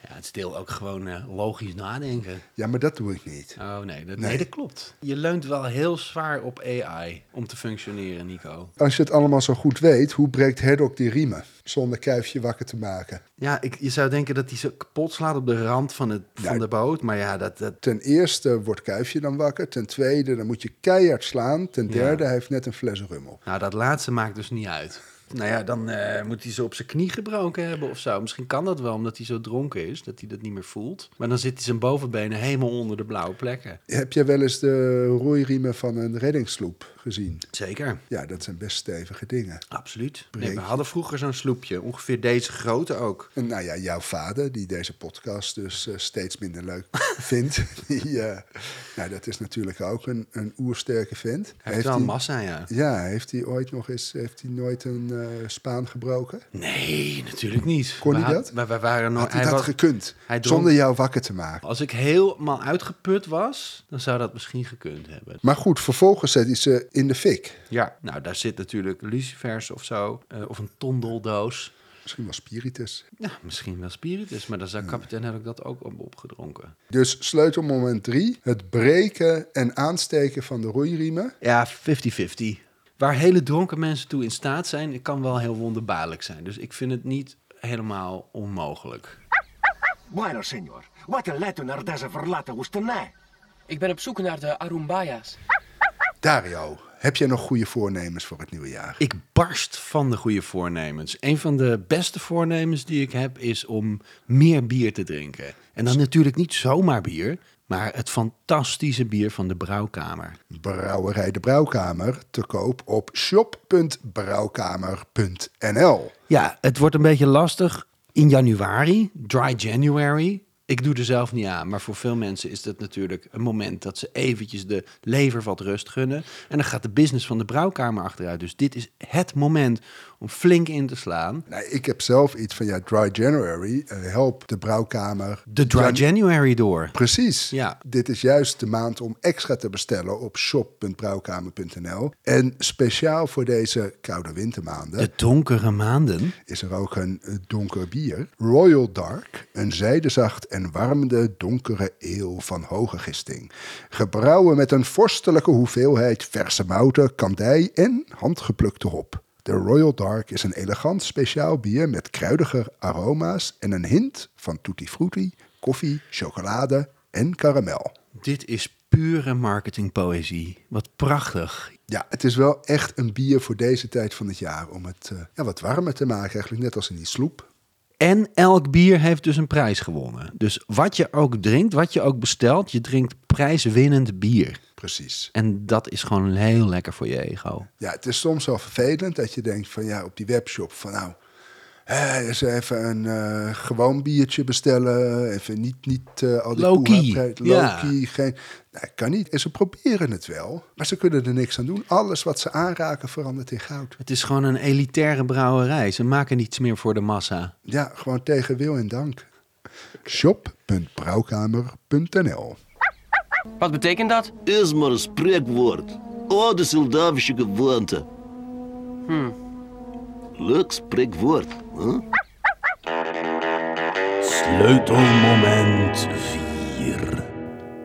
Speaker 1: Ja, het is deel ook gewoon eh, logisch nadenken.
Speaker 2: Ja, maar dat doe ik niet.
Speaker 1: Oh nee dat,
Speaker 2: Nee.
Speaker 1: nee. dat klopt. Je leunt wel heel zwaar op AI om te functioneren, Nico.
Speaker 2: Als je het allemaal zo goed weet, hoe breekt Haddock die riemen? Zonder kuifje wakker te maken.
Speaker 1: Ja, ik, je zou denken dat hij ze kapot slaat op de rand van, het, van
Speaker 2: Ja.
Speaker 1: de boot. Maar ja, dat, dat...
Speaker 2: Ten eerste wordt kuifje dan wakker. Ten tweede, dan moet je keihard slaan. Ten derde, hij heeft net een fles rum op.
Speaker 1: Nou, dat laatste maakt dus niet uit. Nou ja, dan eh, moet hij ze op zijn knie gebroken hebben of zo. Misschien kan dat wel, omdat hij zo dronken is, dat hij dat niet meer voelt. Maar dan zit hij zijn bovenbenen helemaal onder de blauwe plekken.
Speaker 2: Heb jij wel eens de roeiriemen van een reddingssloep gezien?
Speaker 1: Zeker.
Speaker 2: Ja, dat zijn best stevige dingen.
Speaker 1: Absoluut. Nee,
Speaker 2: Breek.
Speaker 1: we hadden vroeger zo'n sloepje, ongeveer deze grootte ook.
Speaker 2: En nou ja, jouw vader, die deze podcast dus eh, steeds minder leuk vindt. Die, eh, nou, dat is natuurlijk ook een, een oersterke vent.
Speaker 1: Hij heeft wel
Speaker 2: hij-
Speaker 1: massa, ja.
Speaker 2: Ja, heeft hij ooit nog eens, heeft hij nooit een eh, spaan gebroken?
Speaker 1: Nee, natuurlijk niet.
Speaker 2: Kon
Speaker 1: We
Speaker 2: hij
Speaker 1: had-
Speaker 2: dat?
Speaker 1: Maar we waren nog...
Speaker 2: Had hij,
Speaker 1: Nou, hij
Speaker 2: dat
Speaker 1: was-
Speaker 2: gekund,
Speaker 1: hij dronk-
Speaker 2: zonder jou wakker te maken.
Speaker 1: Als ik helemaal uitgeput was, dan zou dat misschien gekund hebben.
Speaker 2: Maar goed, vervolgens zet hij ze in de fik.
Speaker 1: Ja. Nou, daar zit natuurlijk lucifers of zo, eh, of een tondeldoos.
Speaker 2: Misschien wel spiritus.
Speaker 1: Ja, misschien wel spiritus, maar dan zou kapitein had ik dat ook op opgedronken.
Speaker 2: Dus sleutelmoment 3, het breken en aansteken van de roeiriemen.
Speaker 1: Ja, 50-50. Waar hele dronken mensen toe in staat zijn, kan wel heel wonderbaarlijk zijn. Dus ik vind het niet helemaal onmogelijk.
Speaker 5: Bueno, señor, wat een letter naar deze verlaten woestenij.
Speaker 3: Ik ben op zoek naar de Arumbaya's.
Speaker 2: Dario, heb jij nog goede voornemens voor het nieuwe jaar?
Speaker 1: Ik barst van de goede voornemens. Een van de beste voornemens die ik heb is om meer bier te drinken. En dan natuurlijk niet zomaar bier, maar het fantastische bier van de Brouwkamer.
Speaker 2: Brouwerij de Brouwkamer te koop op shop.brouwkamer.nl.
Speaker 1: Ja, het wordt een beetje lastig in januari, dry January. Ik doe er zelf niet aan, maar voor veel mensen is dat natuurlijk een moment dat ze eventjes de lever wat rust gunnen. En dan gaat de business van de brouwkamer achteruit. Dus dit is het moment om flink in te slaan.
Speaker 2: Nou, ik heb zelf iets van, ja, Dry January, eh, help de brouwkamer.
Speaker 1: De Dry
Speaker 2: Jan-
Speaker 1: January door.
Speaker 2: Precies.
Speaker 1: Ja.
Speaker 2: Dit is juist de maand om extra te bestellen op shop.brouwkamer.nl. En speciaal voor deze koude wintermaanden
Speaker 1: De donkere maanden.
Speaker 2: is er ook een eh, donker bier. Royal Dark, een zijdezacht en warmende donkere eeuw van hoge gisting. Gebrouwen met een vorstelijke hoeveelheid verse mouten, kandij en handgeplukte hop. De Royal Dark is een elegant speciaal bier met kruidige aroma's en een hint van tutti frutti, koffie, chocolade en karamel.
Speaker 1: Dit is pure marketingpoëzie. Wat prachtig.
Speaker 2: Ja, het is wel echt een bier voor deze tijd van het jaar om het eh, ja, wat warmer te maken eigenlijk, net als in die sloep.
Speaker 1: En elk bier heeft dus een prijs gewonnen. Dus wat je ook drinkt, wat je ook bestelt, je drinkt prijswinnend bier.
Speaker 2: Precies.
Speaker 1: En dat is gewoon heel lekker voor je ego.
Speaker 2: Ja, het is soms wel vervelend dat je denkt van ja, op die webshop van nou, hè, eens even een eh, gewoon biertje bestellen, even niet, niet eh, al die
Speaker 1: Low-key,
Speaker 2: poeha-prijs,
Speaker 1: ja.
Speaker 2: low-key, geen, nou, kan niet. En ze proberen het wel, maar ze kunnen er niks aan doen. Alles wat ze aanraken verandert in goud.
Speaker 1: Het is gewoon een elitaire brouwerij. Ze maken niets meer voor de massa.
Speaker 2: Ja, gewoon tegen wil en dank. Shop.brouwkamer.nl
Speaker 3: Wat betekent dat?
Speaker 6: Is maar een spreekwoord. Oude Soldavische gewoonte. Leuk spreekwoord, hè?
Speaker 4: Sleutelmoment 4.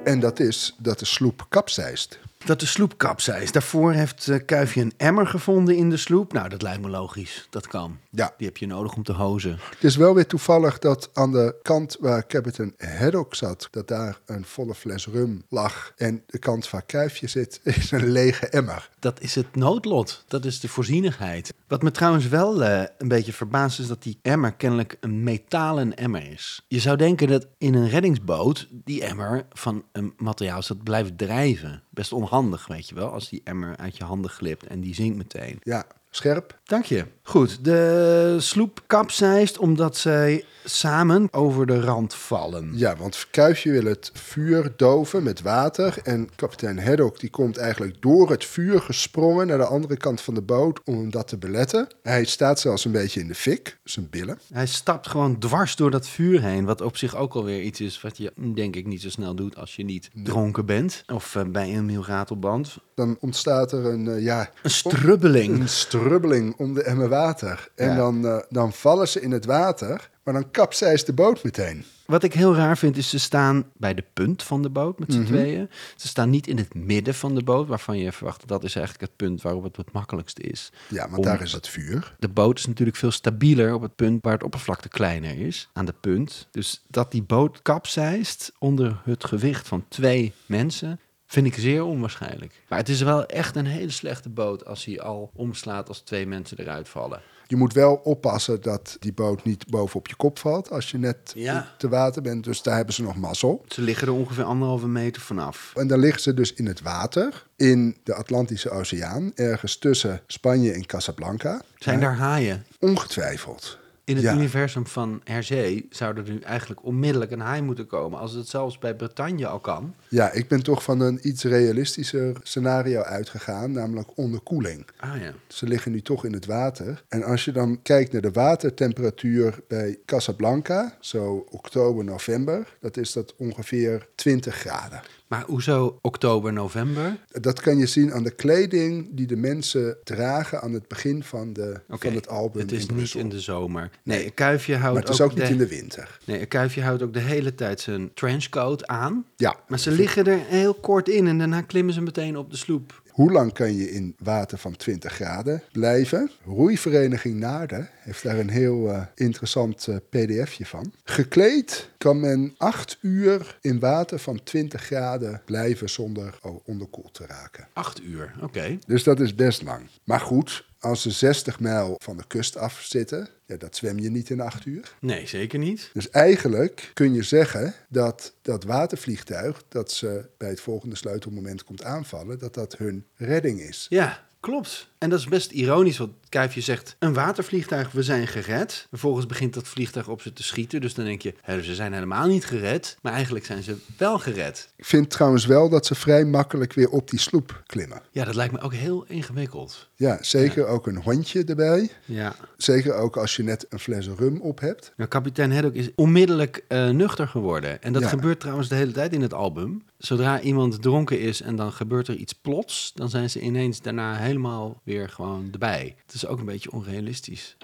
Speaker 2: En dat is dat de sloep kapseist.
Speaker 1: Dat de sloep kapseist. Daarvoor heeft eh, Kuifje een emmer gevonden in de sloep. Nou, dat lijkt me logisch. Dat kan.
Speaker 2: Ja.
Speaker 1: Die heb je nodig om te hozen.
Speaker 2: Het is wel weer toevallig dat aan de kant waar Captain Haddock zat, dat daar een volle fles rum lag. En de kant waar Kuifje zit, is een lege emmer.
Speaker 1: Dat is het noodlot. Dat is de voorzienigheid. Wat me trouwens wel eh, een beetje verbaast is dat die emmer kennelijk een metalen emmer is. Je zou denken dat in een reddingsboot die emmer van een materiaal is dat blijft drijven. Best onhandig, weet je wel, als die emmer uit je handen glipt en die zinkt meteen.
Speaker 2: Ja, scherp.
Speaker 1: Dank je. Goed, de sloep kapseist omdat zij samen over de rand vallen.
Speaker 2: Ja, want Kuifje wil het vuur doven met water. En kapitein Haddock die komt eigenlijk door het vuur gesprongen naar de andere kant van de boot om hem dat te beletten. Hij staat zelfs een beetje in de fik, zijn billen.
Speaker 1: Hij stapt gewoon dwars door dat vuur heen. Wat op zich ook alweer iets is wat je mm, denk ik niet zo snel doet als je niet dronken bent. Of eh, bij een mielratelband.
Speaker 2: Dan ontstaat er een, eh, ja,
Speaker 1: Een strubbeling.
Speaker 2: Een strubbeling om de emmer water. En dan, eh, dan vallen ze in het water, maar dan kapseist de boot meteen.
Speaker 1: Wat ik heel raar vind is ze staan bij de punt van de boot met z'n
Speaker 2: Mhm.
Speaker 1: tweeën. Ze staan niet in het midden van de boot waarvan je verwacht dat is eigenlijk het punt waarop het het makkelijkst is.
Speaker 2: Ja, want
Speaker 1: Om-
Speaker 2: daar is het vuur.
Speaker 1: De boot is natuurlijk veel stabieler op het punt waar het oppervlakte kleiner is, aan de punt. Dus dat die boot kapseist onder het gewicht van twee mensen, vind ik zeer onwaarschijnlijk. Maar het is wel echt een hele slechte boot als hij al omslaat als twee mensen eruit vallen.
Speaker 2: Je moet wel oppassen dat die boot niet bovenop je kop valt als je net
Speaker 1: Ja.
Speaker 2: te water bent. Dus daar hebben ze nog mazzel.
Speaker 1: Ze liggen er ongeveer anderhalve meter vanaf.
Speaker 2: En dan liggen ze dus in het water, in de Atlantische Oceaan, ergens tussen Spanje en Casablanca.
Speaker 1: Zijn daar haaien?
Speaker 2: Ongetwijfeld.
Speaker 1: In het
Speaker 2: Ja.
Speaker 1: universum van Hergé zou er nu eigenlijk onmiddellijk een haai moeten komen. Als het zelfs bij Bretagne al kan.
Speaker 2: Ja, ik ben toch van een iets realistischer scenario uitgegaan, namelijk onderkoeling.
Speaker 1: Ah ja.
Speaker 2: Ze liggen nu toch in het water. En als je dan kijkt naar de watertemperatuur bij Casablanca, zo oktober, november, dat is dat ongeveer 20 graden.
Speaker 1: Maar hoezo oktober, november?
Speaker 2: Dat kan je zien aan de kleding die de mensen dragen aan het begin van, de,
Speaker 1: Oké,
Speaker 2: van het album.
Speaker 1: Het is
Speaker 2: in
Speaker 1: niet
Speaker 2: Brussel.
Speaker 1: in de zomer. Nee, een kuifje houdt
Speaker 2: Maar het is ook niet
Speaker 1: de-
Speaker 2: in de winter.
Speaker 1: Nee, een kuifje houdt ook de hele tijd zijn trenchcoat aan.
Speaker 2: Ja.
Speaker 1: Maar ze liggen er heel kort in en daarna klimmen ze meteen op de sloep.
Speaker 2: Hoe lang kan je in water van 20 graden blijven? Roeivereniging Naarden heeft daar een heel eh, interessant eh, pdfje van. Gekleed kan men 8 uur in water van 20 graden blijven zonder oh, onderkoeld te raken.
Speaker 1: Acht uur, oké.
Speaker 2: Dus dat is best lang. Maar goed, als ze 60 mijl van de kust af zitten, ja, dat zwem je niet in 8 uur.
Speaker 1: Nee, zeker niet.
Speaker 2: Dus eigenlijk kun je zeggen dat dat watervliegtuig dat ze bij het volgende sleutelmoment komt aanvallen, dat dat hun redding is.
Speaker 1: Ja, klopt. En dat is best ironisch, want Kuifje zegt... een watervliegtuig, we zijn gered. Vervolgens begint dat vliegtuig op ze te schieten. Dus dan denk je, hè, ze zijn helemaal niet gered. Maar eigenlijk zijn ze wel gered.
Speaker 2: Ik vind trouwens wel dat ze vrij makkelijk weer op die sloep klimmen.
Speaker 1: Ja, dat lijkt me ook heel ingewikkeld.
Speaker 2: Ja, zeker ook een hondje erbij.
Speaker 1: Ja.
Speaker 2: Zeker ook als je net een fles rum op hebt.
Speaker 1: Nou, kapitein Haddock is onmiddellijk eh, nuchter geworden. En dat
Speaker 2: Ja.
Speaker 1: gebeurt trouwens de hele tijd in het album. Zodra iemand dronken is en dan gebeurt er iets plots, dan zijn ze ineens daarna helemaal weer gewoon erbij. Het is ook een beetje onrealistisch.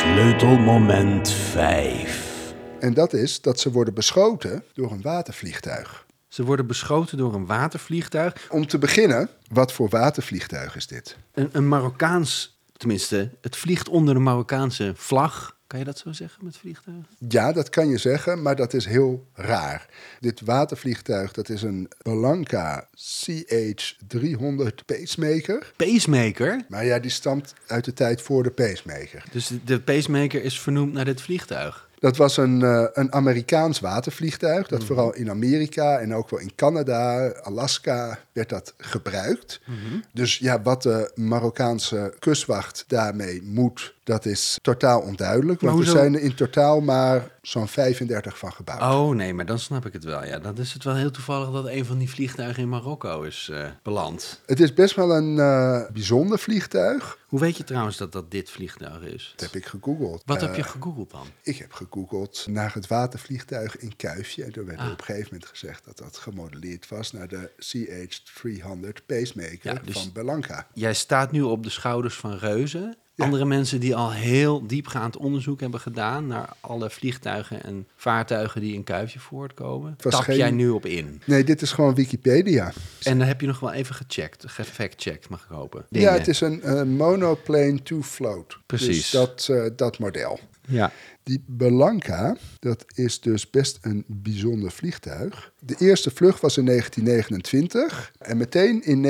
Speaker 7: Sleutelmoment 5.
Speaker 2: En dat is dat ze worden beschoten door een watervliegtuig.
Speaker 1: Ze worden beschoten door een watervliegtuig.
Speaker 2: Om te beginnen, wat voor watervliegtuig is dit?
Speaker 1: Een, een Marokkaans, tenminste, het vliegt onder de Marokkaanse vlag. Kan je dat zo zeggen met vliegtuigen?
Speaker 2: Ja, dat kan je zeggen, maar dat is heel raar. Dit watervliegtuig, dat is een Belanca CH-300 pacemaker.
Speaker 1: Pacemaker.
Speaker 2: Maar ja, die stamt uit de tijd voor de pacemaker.
Speaker 1: Dus de, de pacemaker is vernoemd naar dit vliegtuig.
Speaker 2: Dat was een, eh, een Amerikaans watervliegtuig.
Speaker 1: Mhm.
Speaker 2: Dat vooral in Amerika en ook wel in Canada, Alaska, werd dat gebruikt.
Speaker 1: Mhm.
Speaker 2: Dus ja, wat de Marokkaanse kustwacht daarmee moet, dat is totaal onduidelijk. Want er
Speaker 1: hoezo-
Speaker 2: zijn er in totaal maar zo'n 35 van gebouwd.
Speaker 1: Oh nee, maar dan snap ik het wel. Ja, dan is het wel heel toevallig dat een van die vliegtuigen in Marokko is eh, beland.
Speaker 2: Het is best wel een eh, bijzonder vliegtuig.
Speaker 1: Hoe weet je trouwens dat dat dit vliegtuig is?
Speaker 2: Dat heb ik gegoogeld.
Speaker 1: Wat
Speaker 2: Eh,
Speaker 1: heb je gegoogeld dan?
Speaker 2: Ik heb gegoogeld naar het watervliegtuig in Kuifje. En er werd
Speaker 1: Ah.
Speaker 2: op een gegeven moment gezegd dat dat gemodelleerd was naar de CH-300 pacemaker
Speaker 1: Ja, dus-
Speaker 2: van Belanca.
Speaker 1: Jij staat nu op de schouders van reuzen. Andere mensen die al heel diepgaand onderzoek hebben gedaan naar alle vliegtuigen en vaartuigen die in Kuifje voortkomen.
Speaker 2: was
Speaker 1: Tap
Speaker 2: geen-
Speaker 1: jij nu op in.
Speaker 2: Nee, dit is gewoon Wikipedia.
Speaker 1: En dan heb je nog wel even gecheckt, gefact-checked, mag ik hopen.
Speaker 2: Ja, het is een eh, monoplane to float. Dus
Speaker 1: Precies.
Speaker 2: dat, eh, dat model.
Speaker 1: Ja.
Speaker 2: Die Belanca, dat is dus best een bijzonder vliegtuig. De eerste vlucht was in 1929. En meteen in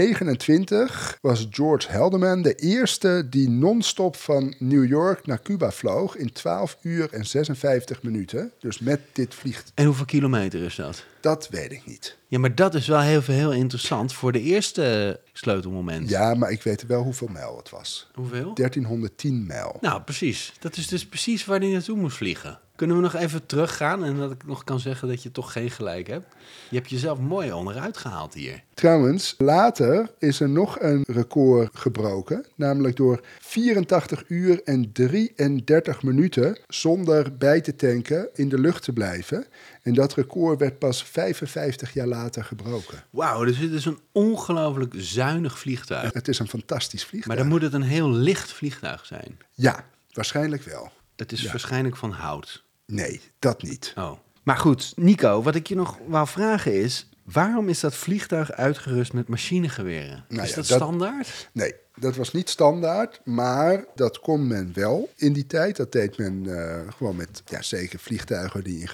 Speaker 2: 1929 was George Helderman de eerste die non-stop van New York naar Cuba vloog in 12 uur en 56 minuten. Dus met dit vliegt,
Speaker 1: En hoeveel kilometer is dat?
Speaker 2: dat weet ik niet.
Speaker 1: Ja, maar dat is wel heel, heel interessant voor de eerste sleutelmoment.
Speaker 2: Ja, maar ik weet wel hoeveel mijl het was.
Speaker 1: Hoeveel?
Speaker 2: 1310 mijl.
Speaker 1: Nou, precies. Dat is dus precies waar hij naartoe moest vliegen. Kunnen we nog even teruggaan en dat ik nog kan zeggen dat je toch geen gelijk hebt? Je hebt jezelf mooi onderuit gehaald hier.
Speaker 2: Trouwens, later is er nog een record gebroken, namelijk door 84 uur en 33 minuten zonder bij te tanken in de lucht te blijven. En dat record werd pas 55 jaar later gebroken.
Speaker 1: Wauw, dus dit is een ongelooflijk zuinig vliegtuig.
Speaker 2: Het is een fantastisch vliegtuig.
Speaker 1: Maar dan moet het een heel licht vliegtuig zijn.
Speaker 2: Ja, waarschijnlijk wel.
Speaker 1: Het is
Speaker 2: Ja.
Speaker 1: waarschijnlijk van hout.
Speaker 2: Nee, dat niet.
Speaker 1: Oh. Maar goed, Nico, wat ik je nog wou vragen is... waarom is dat vliegtuig uitgerust met machinegeweren?
Speaker 2: Nou
Speaker 1: is
Speaker 2: ja,
Speaker 1: dat,
Speaker 2: dat-
Speaker 1: standaard?
Speaker 2: Nee, dat was niet standaard, maar dat kon men wel in die tijd. Dat deed men eh, gewoon met ja, zeker vliegtuigen die in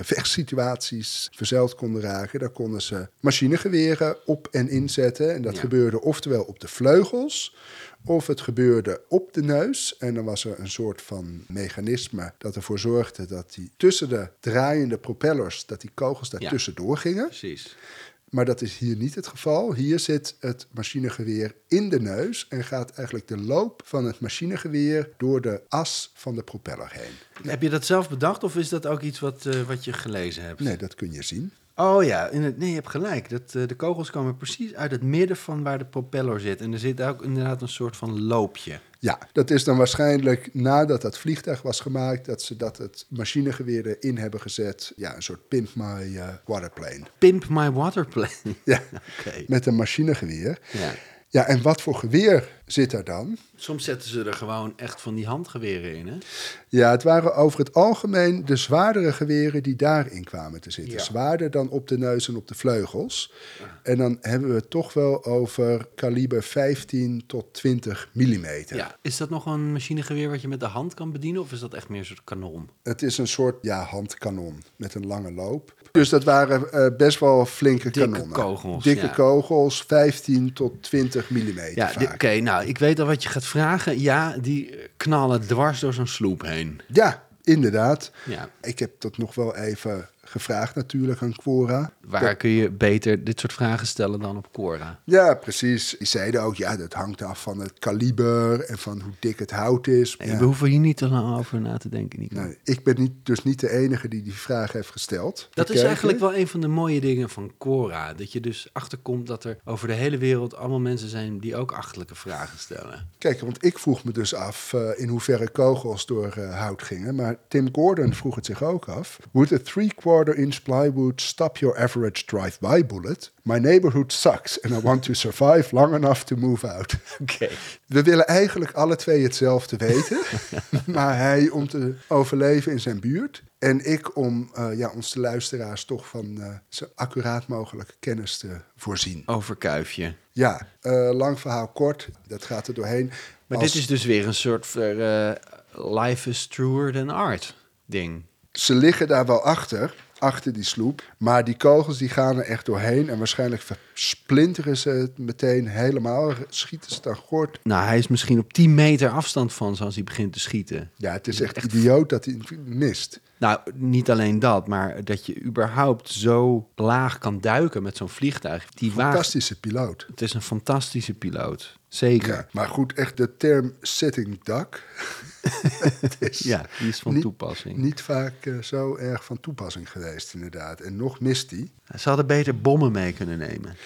Speaker 2: gevechtssituaties verzeild konden raken. Daar konden ze machinegeweren op en inzetten. En dat
Speaker 1: Ja.
Speaker 2: gebeurde oftewel op de vleugels, of het gebeurde op de neus. En dan was er een soort van mechanisme dat ervoor zorgde dat die tussen de draaiende propellers, dat die kogels daar
Speaker 1: Ja.
Speaker 2: tussendoor gingen.
Speaker 1: Precies.
Speaker 2: Maar dat is hier niet het geval. Hier zit het machinegeweer in de neus en gaat eigenlijk de loop van het machinegeweer door de as van de propeller heen.
Speaker 1: Heb je dat zelf bedacht of is dat ook iets wat, eh, wat je gelezen hebt?
Speaker 2: Nee, dat kun je zien.
Speaker 1: Oh ja, in het, nee, je hebt gelijk. Dat, eh, de kogels komen precies uit het midden van waar de propeller zit. En er zit ook inderdaad een soort van loopje.
Speaker 2: Ja, dat is dan waarschijnlijk nadat dat vliegtuig was gemaakt, dat ze dat het machinegeweer erin hebben gezet. Ja, een soort pimp my eh, waterplane.
Speaker 1: Pimp my waterplane.
Speaker 2: Ja,
Speaker 1: Oké.
Speaker 2: met een machinegeweer.
Speaker 1: Ja.
Speaker 2: Ja, en wat voor geweer zit er dan?
Speaker 1: Soms zetten ze er gewoon echt van die handgeweren in, hè?
Speaker 2: Ja, het waren over het algemeen de zwaardere geweren die daarin kwamen te zitten.
Speaker 1: Ja.
Speaker 2: Zwaarder dan op de neus en op de vleugels. En dan hebben we het toch wel over kaliber 15 tot 20 millimeter.
Speaker 1: Ja. Is dat nog een machinegeweer wat je met de hand kan bedienen? Of is dat echt meer een soort kanon?
Speaker 2: Het is een soort ja, handkanon met een lange loop. Dus dat waren eh, best wel flinke
Speaker 1: Dikke
Speaker 2: kanonnen.
Speaker 1: kogels,
Speaker 2: Dikke
Speaker 1: ja.
Speaker 2: kogels, 15 tot 20 millimeter
Speaker 1: Ja, di-
Speaker 2: vaak.
Speaker 1: oké. nou, ik weet al wat je gaat vragen. Ja, die eh, knallen dwars door zo'n sloep heen.
Speaker 2: Ja, inderdaad.
Speaker 1: Ja.
Speaker 2: Ik heb dat nog wel even gevraagd natuurlijk aan Quora.
Speaker 1: Waar kun je beter dit soort vragen stellen dan op Cora?
Speaker 2: Ja, precies. Die zeiden ook, ja, dat hangt af van het kaliber en van hoe dik het hout is.
Speaker 1: Nee,
Speaker 2: Ja.
Speaker 1: We hoeven hier niet te lang over na te denken, Nico.
Speaker 2: Nee, ik ben niet, dus niet de enige die die vraag heeft gesteld.
Speaker 1: Dat
Speaker 2: We
Speaker 1: is
Speaker 2: kijken.
Speaker 1: eigenlijk wel een van de mooie dingen van Cora. Dat je dus achterkomt dat er over de hele wereld allemaal mensen zijn die ook achterlijke vragen stellen.
Speaker 2: Kijk, want ik vroeg me dus af eh, in hoeverre kogels door eh, hout gingen. Maar Tim Gordon vroeg het zich ook af. Would a three-quarter inch plywood stop your average drive-by bullet? My neighborhood sucks and I want to survive long enough to move out.
Speaker 1: Oké.
Speaker 2: We willen eigenlijk alle twee hetzelfde weten. maar hij om te overleven in zijn buurt. En ik om eh, ja, ons de luisteraars toch van eh, zo accuraat mogelijke kennis te voorzien.
Speaker 1: Over kuifje.
Speaker 2: Ja, eh, lang verhaal kort. Dat gaat er doorheen.
Speaker 1: Maar
Speaker 2: Als-
Speaker 1: dit is dus weer een soort eh, life is truer than art ding.
Speaker 2: Ze liggen daar wel achter, achter die sloep. Maar die kogels die gaan er echt doorheen. En waarschijnlijk versplinteren ze het meteen helemaal. Schieten ze dan gort.
Speaker 1: Nou, hij is misschien op 10 meter afstand van ze als hij begint te schieten.
Speaker 2: Ja, het is echt idioot dat hij het mist.
Speaker 1: Nou, niet alleen dat, maar dat je überhaupt zo laag kan duiken met zo'n vliegtuig. Die waagt,
Speaker 2: Fantastische piloot.
Speaker 1: het is een fantastische piloot. Zeker.
Speaker 2: Ja,
Speaker 1: Ja,
Speaker 2: maar goed, echt de term sitting duck. Het is
Speaker 1: die is van
Speaker 2: niet-
Speaker 1: toepassing.
Speaker 2: Niet vaak eh, zo erg van toepassing geweest, inderdaad. En nog mist hij.
Speaker 1: Ze hadden beter bommen mee kunnen nemen.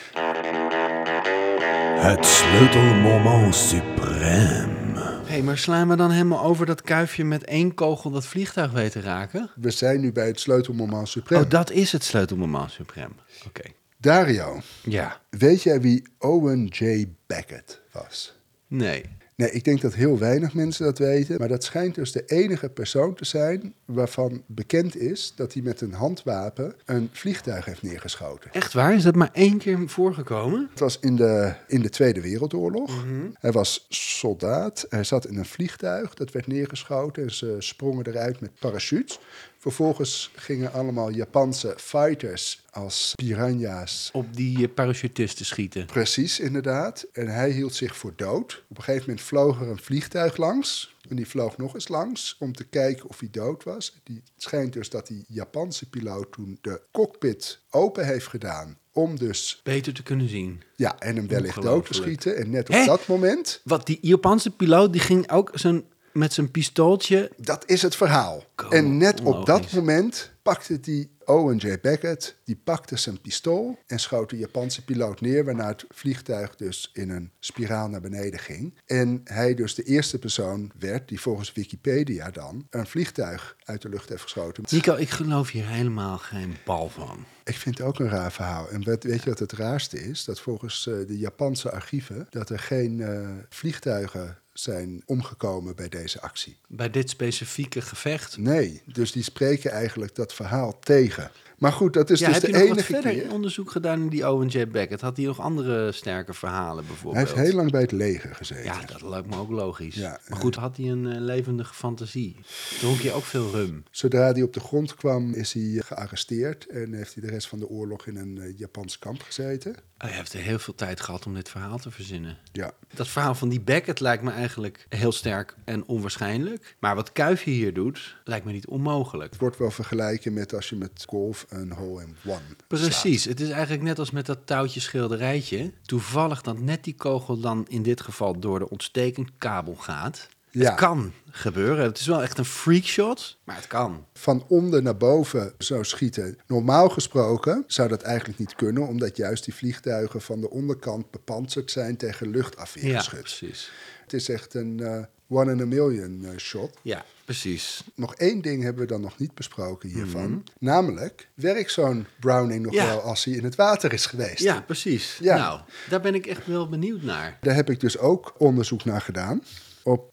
Speaker 7: Het sleutelmoment suprême.
Speaker 1: Hé, hey, maar slaan we dan helemaal over dat kuifje met één kogel dat vliegtuig weet te raken?
Speaker 2: We zijn nu bij het sleutelmoment supreme.
Speaker 1: Oh, dat is het sleutelmoment suprem. Oké.
Speaker 2: Dario,
Speaker 1: Ja.
Speaker 2: weet jij wie Owen J. Beckett was?
Speaker 1: Nee.
Speaker 2: Nee, ik denk dat heel weinig mensen dat weten. Maar dat schijnt dus de enige persoon te zijn waarvan bekend is dat hij met een handwapen een vliegtuig heeft neergeschoten.
Speaker 1: Echt waar? Is dat maar één keer voorgekomen?
Speaker 2: Het was in de, in de Tweede Wereldoorlog. Hij was soldaat. Hij zat in een vliegtuig. Dat werd neergeschoten. En ze sprongen eruit met parachutes. Vervolgens gingen allemaal Japanse fighters als piranha's
Speaker 1: Op die eh, parachutisten schieten.
Speaker 2: Precies, inderdaad. En hij hield zich voor dood. Op een gegeven moment vloog er een vliegtuig langs. En die vloog nog eens langs om te kijken of hij dood was. Die het schijnt dus dat die Japanse piloot toen de cockpit open heeft gedaan. Om dus,
Speaker 1: Beter te kunnen zien.
Speaker 2: ja, en hem wellicht dood te
Speaker 1: Ongelooflijk.
Speaker 2: schieten. En net op
Speaker 1: Hè?
Speaker 2: dat moment,
Speaker 1: Wat die Japanse piloot die ging ook zijn, met zijn pistooltje.
Speaker 2: dat is het verhaal.
Speaker 1: Kom,
Speaker 2: en net op dat
Speaker 1: onlogisch.
Speaker 2: moment pakte die Owen J. Beckett, die pakte zijn pistool en schoot de Japanse piloot neer, waarna het vliegtuig dus in een spiraal naar beneden ging. En hij dus de eerste persoon werd die volgens Wikipedia dan een vliegtuig uit de lucht heeft geschoten.
Speaker 1: Nico, ik geloof hier helemaal geen bal van.
Speaker 2: Ik vind het ook een raar verhaal. En weet, weet je wat het raarste is? Dat volgens eh, de Japanse archieven dat er geen eh, vliegtuigen zijn omgekomen bij deze actie.
Speaker 1: Bij dit specifieke gevecht.
Speaker 2: Nee, dus die spreken eigenlijk dat verhaal tegen. Maar goed, dat is
Speaker 1: ja,
Speaker 2: dus
Speaker 1: heb
Speaker 2: de
Speaker 1: je nog wat
Speaker 2: enige
Speaker 1: verder
Speaker 2: keer.
Speaker 1: onderzoek gedaan in die Owen J. Beckett? Had hij nog andere sterke verhalen bijvoorbeeld?
Speaker 2: Hij heeft heel lang bij het leger gezeten.
Speaker 1: Ja, dat lijkt me ook logisch.
Speaker 2: Ja,
Speaker 1: maar goed, had hij een eh, levendige fantasie? Dronk je ook veel rum?
Speaker 2: Zodra hij op de grond kwam, is hij gearresteerd en heeft hij de rest van de oorlog in een eh, Japans kamp gezeten.
Speaker 1: Hij heeft heel veel tijd gehad om dit verhaal te verzinnen.
Speaker 2: Ja.
Speaker 1: Dat verhaal van die Beckett lijkt me eigenlijk heel sterk en onwaarschijnlijk. Maar wat Kuifje hier doet, lijkt me niet onmogelijk.
Speaker 2: Het wordt wel vergelijken met als je met golf een hole in one.
Speaker 1: Precies, het is eigenlijk net als met dat touwtje schilderijtje. Toevallig dat net die kogel dan in dit geval door de ontstekend kabel gaat.
Speaker 2: Ja.
Speaker 1: Het kan gebeuren. Het is wel echt een freakshot, maar het kan.
Speaker 2: Van onder naar boven zou schieten. Normaal gesproken zou dat eigenlijk niet kunnen, omdat juist die vliegtuigen van de onderkant bepantserd zijn tegen luchtafweergeschut.
Speaker 1: precies.
Speaker 2: Het is echt een eh, one in a million eh, shot.
Speaker 1: Ja, precies.
Speaker 2: Nog één ding hebben we dan nog niet besproken hiervan. Namelijk, werkt zo'n Browning nog
Speaker 1: Mhm. Ja.
Speaker 2: wel als hij in het water is geweest?
Speaker 1: Ja, precies.
Speaker 2: Ja.
Speaker 1: Nou, daar ben ik echt wel benieuwd naar.
Speaker 2: Daar heb ik dus ook onderzoek naar gedaan. Op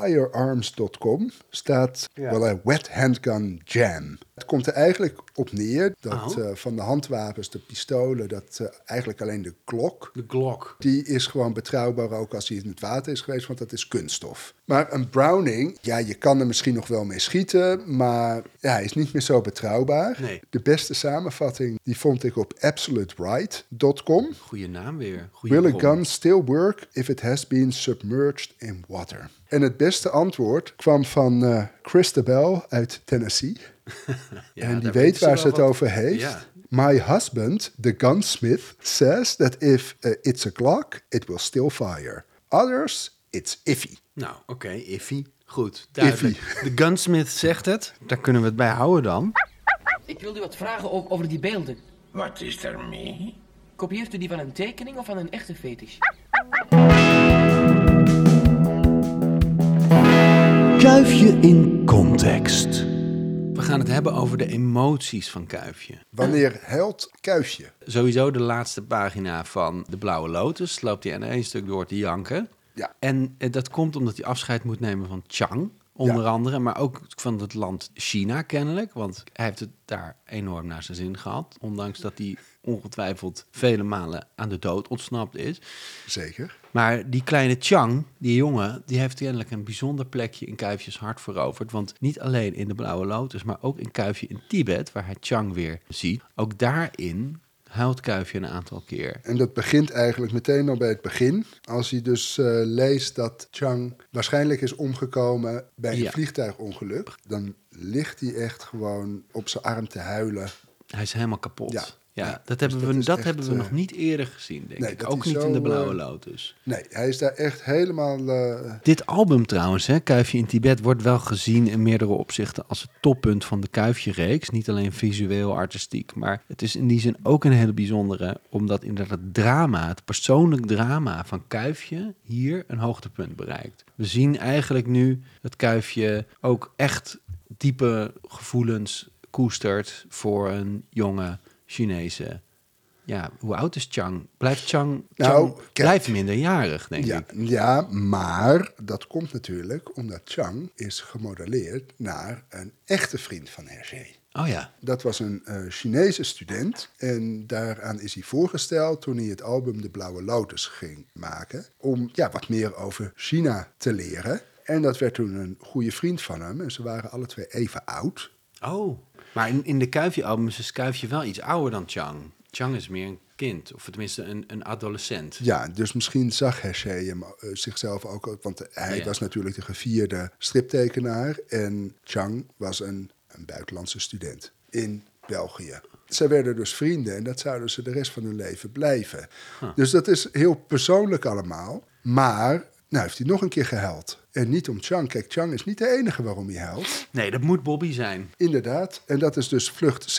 Speaker 2: cedarmillfirearms.com staat wel een wet handgun jam. Het komt er eigenlijk op neer dat
Speaker 1: Oh.
Speaker 2: eh, van de handwapens, de pistolen, dat eh, eigenlijk alleen de klok
Speaker 1: De Glock.
Speaker 2: Die is gewoon betrouwbaar ook als hij in het water is geweest, want dat is kunststof. Maar een Browning, ja, je kan er misschien nog wel mee schieten, maar ja, hij is niet meer zo betrouwbaar.
Speaker 1: Nee.
Speaker 2: De beste samenvatting, die vond ik op absoluteright.com.
Speaker 1: Goeie naam weer. Goeie
Speaker 2: Will a
Speaker 1: bron.
Speaker 2: gun still work if it has been submerged in water? En het beste antwoord kwam van eh Christabel uit Tennessee.
Speaker 1: Ja,
Speaker 2: en die
Speaker 1: daar
Speaker 2: weet
Speaker 1: weten ze
Speaker 2: waar ze
Speaker 1: wel
Speaker 2: het
Speaker 1: wat.
Speaker 2: over heeft.
Speaker 1: Ja.
Speaker 2: My husband, the gunsmith, says that if eh, it's a clock, it will still fire. Others, it's iffy.
Speaker 1: Nou, oké, iffy. Goed, duidelijk.
Speaker 2: Iffy.
Speaker 1: De gunsmith zegt het. Daar kunnen we het bij houden dan.
Speaker 3: Ik wilde u wat vragen o- over die beelden.
Speaker 5: Wat is er mee?
Speaker 3: Kopieert u die van een tekening of van een echte fetish?
Speaker 7: Kuifje in context.
Speaker 1: We gaan het hebben over de emoties van Kuifje.
Speaker 2: Wanneer huilt Kuifje?
Speaker 1: Sowieso de laatste pagina van De Blauwe Lotus. Loopt hij aan één stuk door te janken.
Speaker 2: Ja.
Speaker 1: En eh, dat komt omdat hij afscheid moet nemen van Chang, onder
Speaker 2: Ja.
Speaker 1: andere. Maar ook van het land China kennelijk. Want hij heeft het daar enorm naar zijn zin gehad. Ondanks dat hij ongetwijfeld vele malen aan de dood ontsnapt is.
Speaker 2: Zeker.
Speaker 1: Maar die kleine Chang, die jongen, die heeft kennelijk een bijzonder plekje in Kuifjes hart veroverd. Want niet alleen in de Blauwe Lotus, maar ook in Kuifje in Tibet, waar hij Chang weer ziet. Ook daarin huilt Kuifje een aantal keer.
Speaker 2: En dat begint eigenlijk meteen al bij het begin. Als hij dus eh, leest dat Chang waarschijnlijk is omgekomen bij een
Speaker 1: Ja.
Speaker 2: vliegtuigongeluk, dan ligt hij echt gewoon op zijn arm te huilen.
Speaker 1: Hij is helemaal kapot.
Speaker 2: Ja.
Speaker 1: Ja,
Speaker 2: Ja, dus
Speaker 1: dat hebben,
Speaker 2: dat
Speaker 1: we,
Speaker 2: is
Speaker 1: dat
Speaker 2: echt,
Speaker 1: hebben we
Speaker 2: eh,
Speaker 1: nog niet eerder gezien, denk
Speaker 2: nee,
Speaker 1: ik.
Speaker 2: dat
Speaker 1: Ook
Speaker 2: hij
Speaker 1: niet
Speaker 2: zo,
Speaker 1: in de Blauwe
Speaker 2: eh,
Speaker 1: Lotus.
Speaker 2: Nee, hij is daar echt helemaal. eh,
Speaker 1: Dit album trouwens, hè, Kuifje in Tibet, wordt wel gezien in meerdere opzichten als het toppunt van de Kuifje-reeks. Niet alleen visueel, artistiek, maar het is in die zin ook een hele bijzondere, omdat inderdaad het drama, het persoonlijk drama van Kuifje hier een hoogtepunt bereikt. We zien eigenlijk nu het Kuifje ook echt diepe gevoelens koestert voor een jonge Chinese. Ja, hoe oud is Chang? Blijft Chang,
Speaker 2: Nou,
Speaker 1: Chang
Speaker 2: kijk.
Speaker 1: blijft minderjarig, denk
Speaker 2: ja,
Speaker 1: ik.
Speaker 2: ja, maar dat komt natuurlijk omdat Chang is gemodelleerd naar een echte vriend van Hergé.
Speaker 1: Oh ja.
Speaker 2: Dat was een eh, Chinese student. En daaraan is hij voorgesteld toen hij het album De Blauwe Lotus ging maken. Om ja, wat meer over China te leren. En dat werd toen een goede vriend van hem. En ze waren alle twee even oud.
Speaker 1: Oh. Maar in, in de Kuifje-albums is Kuifje wel iets ouder dan Chang. Chang is meer een kind, of tenminste een, een adolescent.
Speaker 2: Ja, dus misschien zag Hergé hem, eh, zichzelf ook. al- Want hij
Speaker 1: Ja.
Speaker 2: was natuurlijk de gevierde striptekenaar. En Chang was een, een buitenlandse student in België. Zij werden dus vrienden en dat zouden ze de rest van hun leven blijven. Dus dat is heel persoonlijk allemaal. Maar nou heeft hij nog een keer gehuild. En niet om Chang. Kijk, Chang is niet de enige waarom hij huilt.
Speaker 1: Nee, dat moet Bobby zijn.
Speaker 2: Inderdaad. En dat is dus vlucht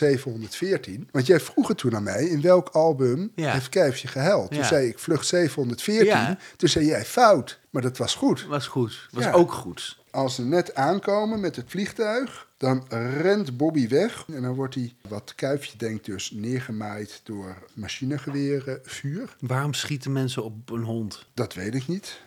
Speaker 2: 714. Want jij vroeg het toen aan mij, in welk album
Speaker 1: Ja.
Speaker 2: heeft Kuifje gehuild? Toen
Speaker 1: Ja.
Speaker 2: zei ik vlucht 714.
Speaker 1: Ja.
Speaker 2: Toen zei jij fout. Maar dat was goed.
Speaker 1: Was goed. Was
Speaker 2: Ja.
Speaker 1: ook goed.
Speaker 2: Als ze net aankomen met het vliegtuig, dan rent Bobby weg. En dan wordt hij, wat Kuifje denkt, dus neergemaaid door machinegeweren, vuur.
Speaker 1: Waarom schieten mensen op een hond?
Speaker 2: Dat weet ik niet.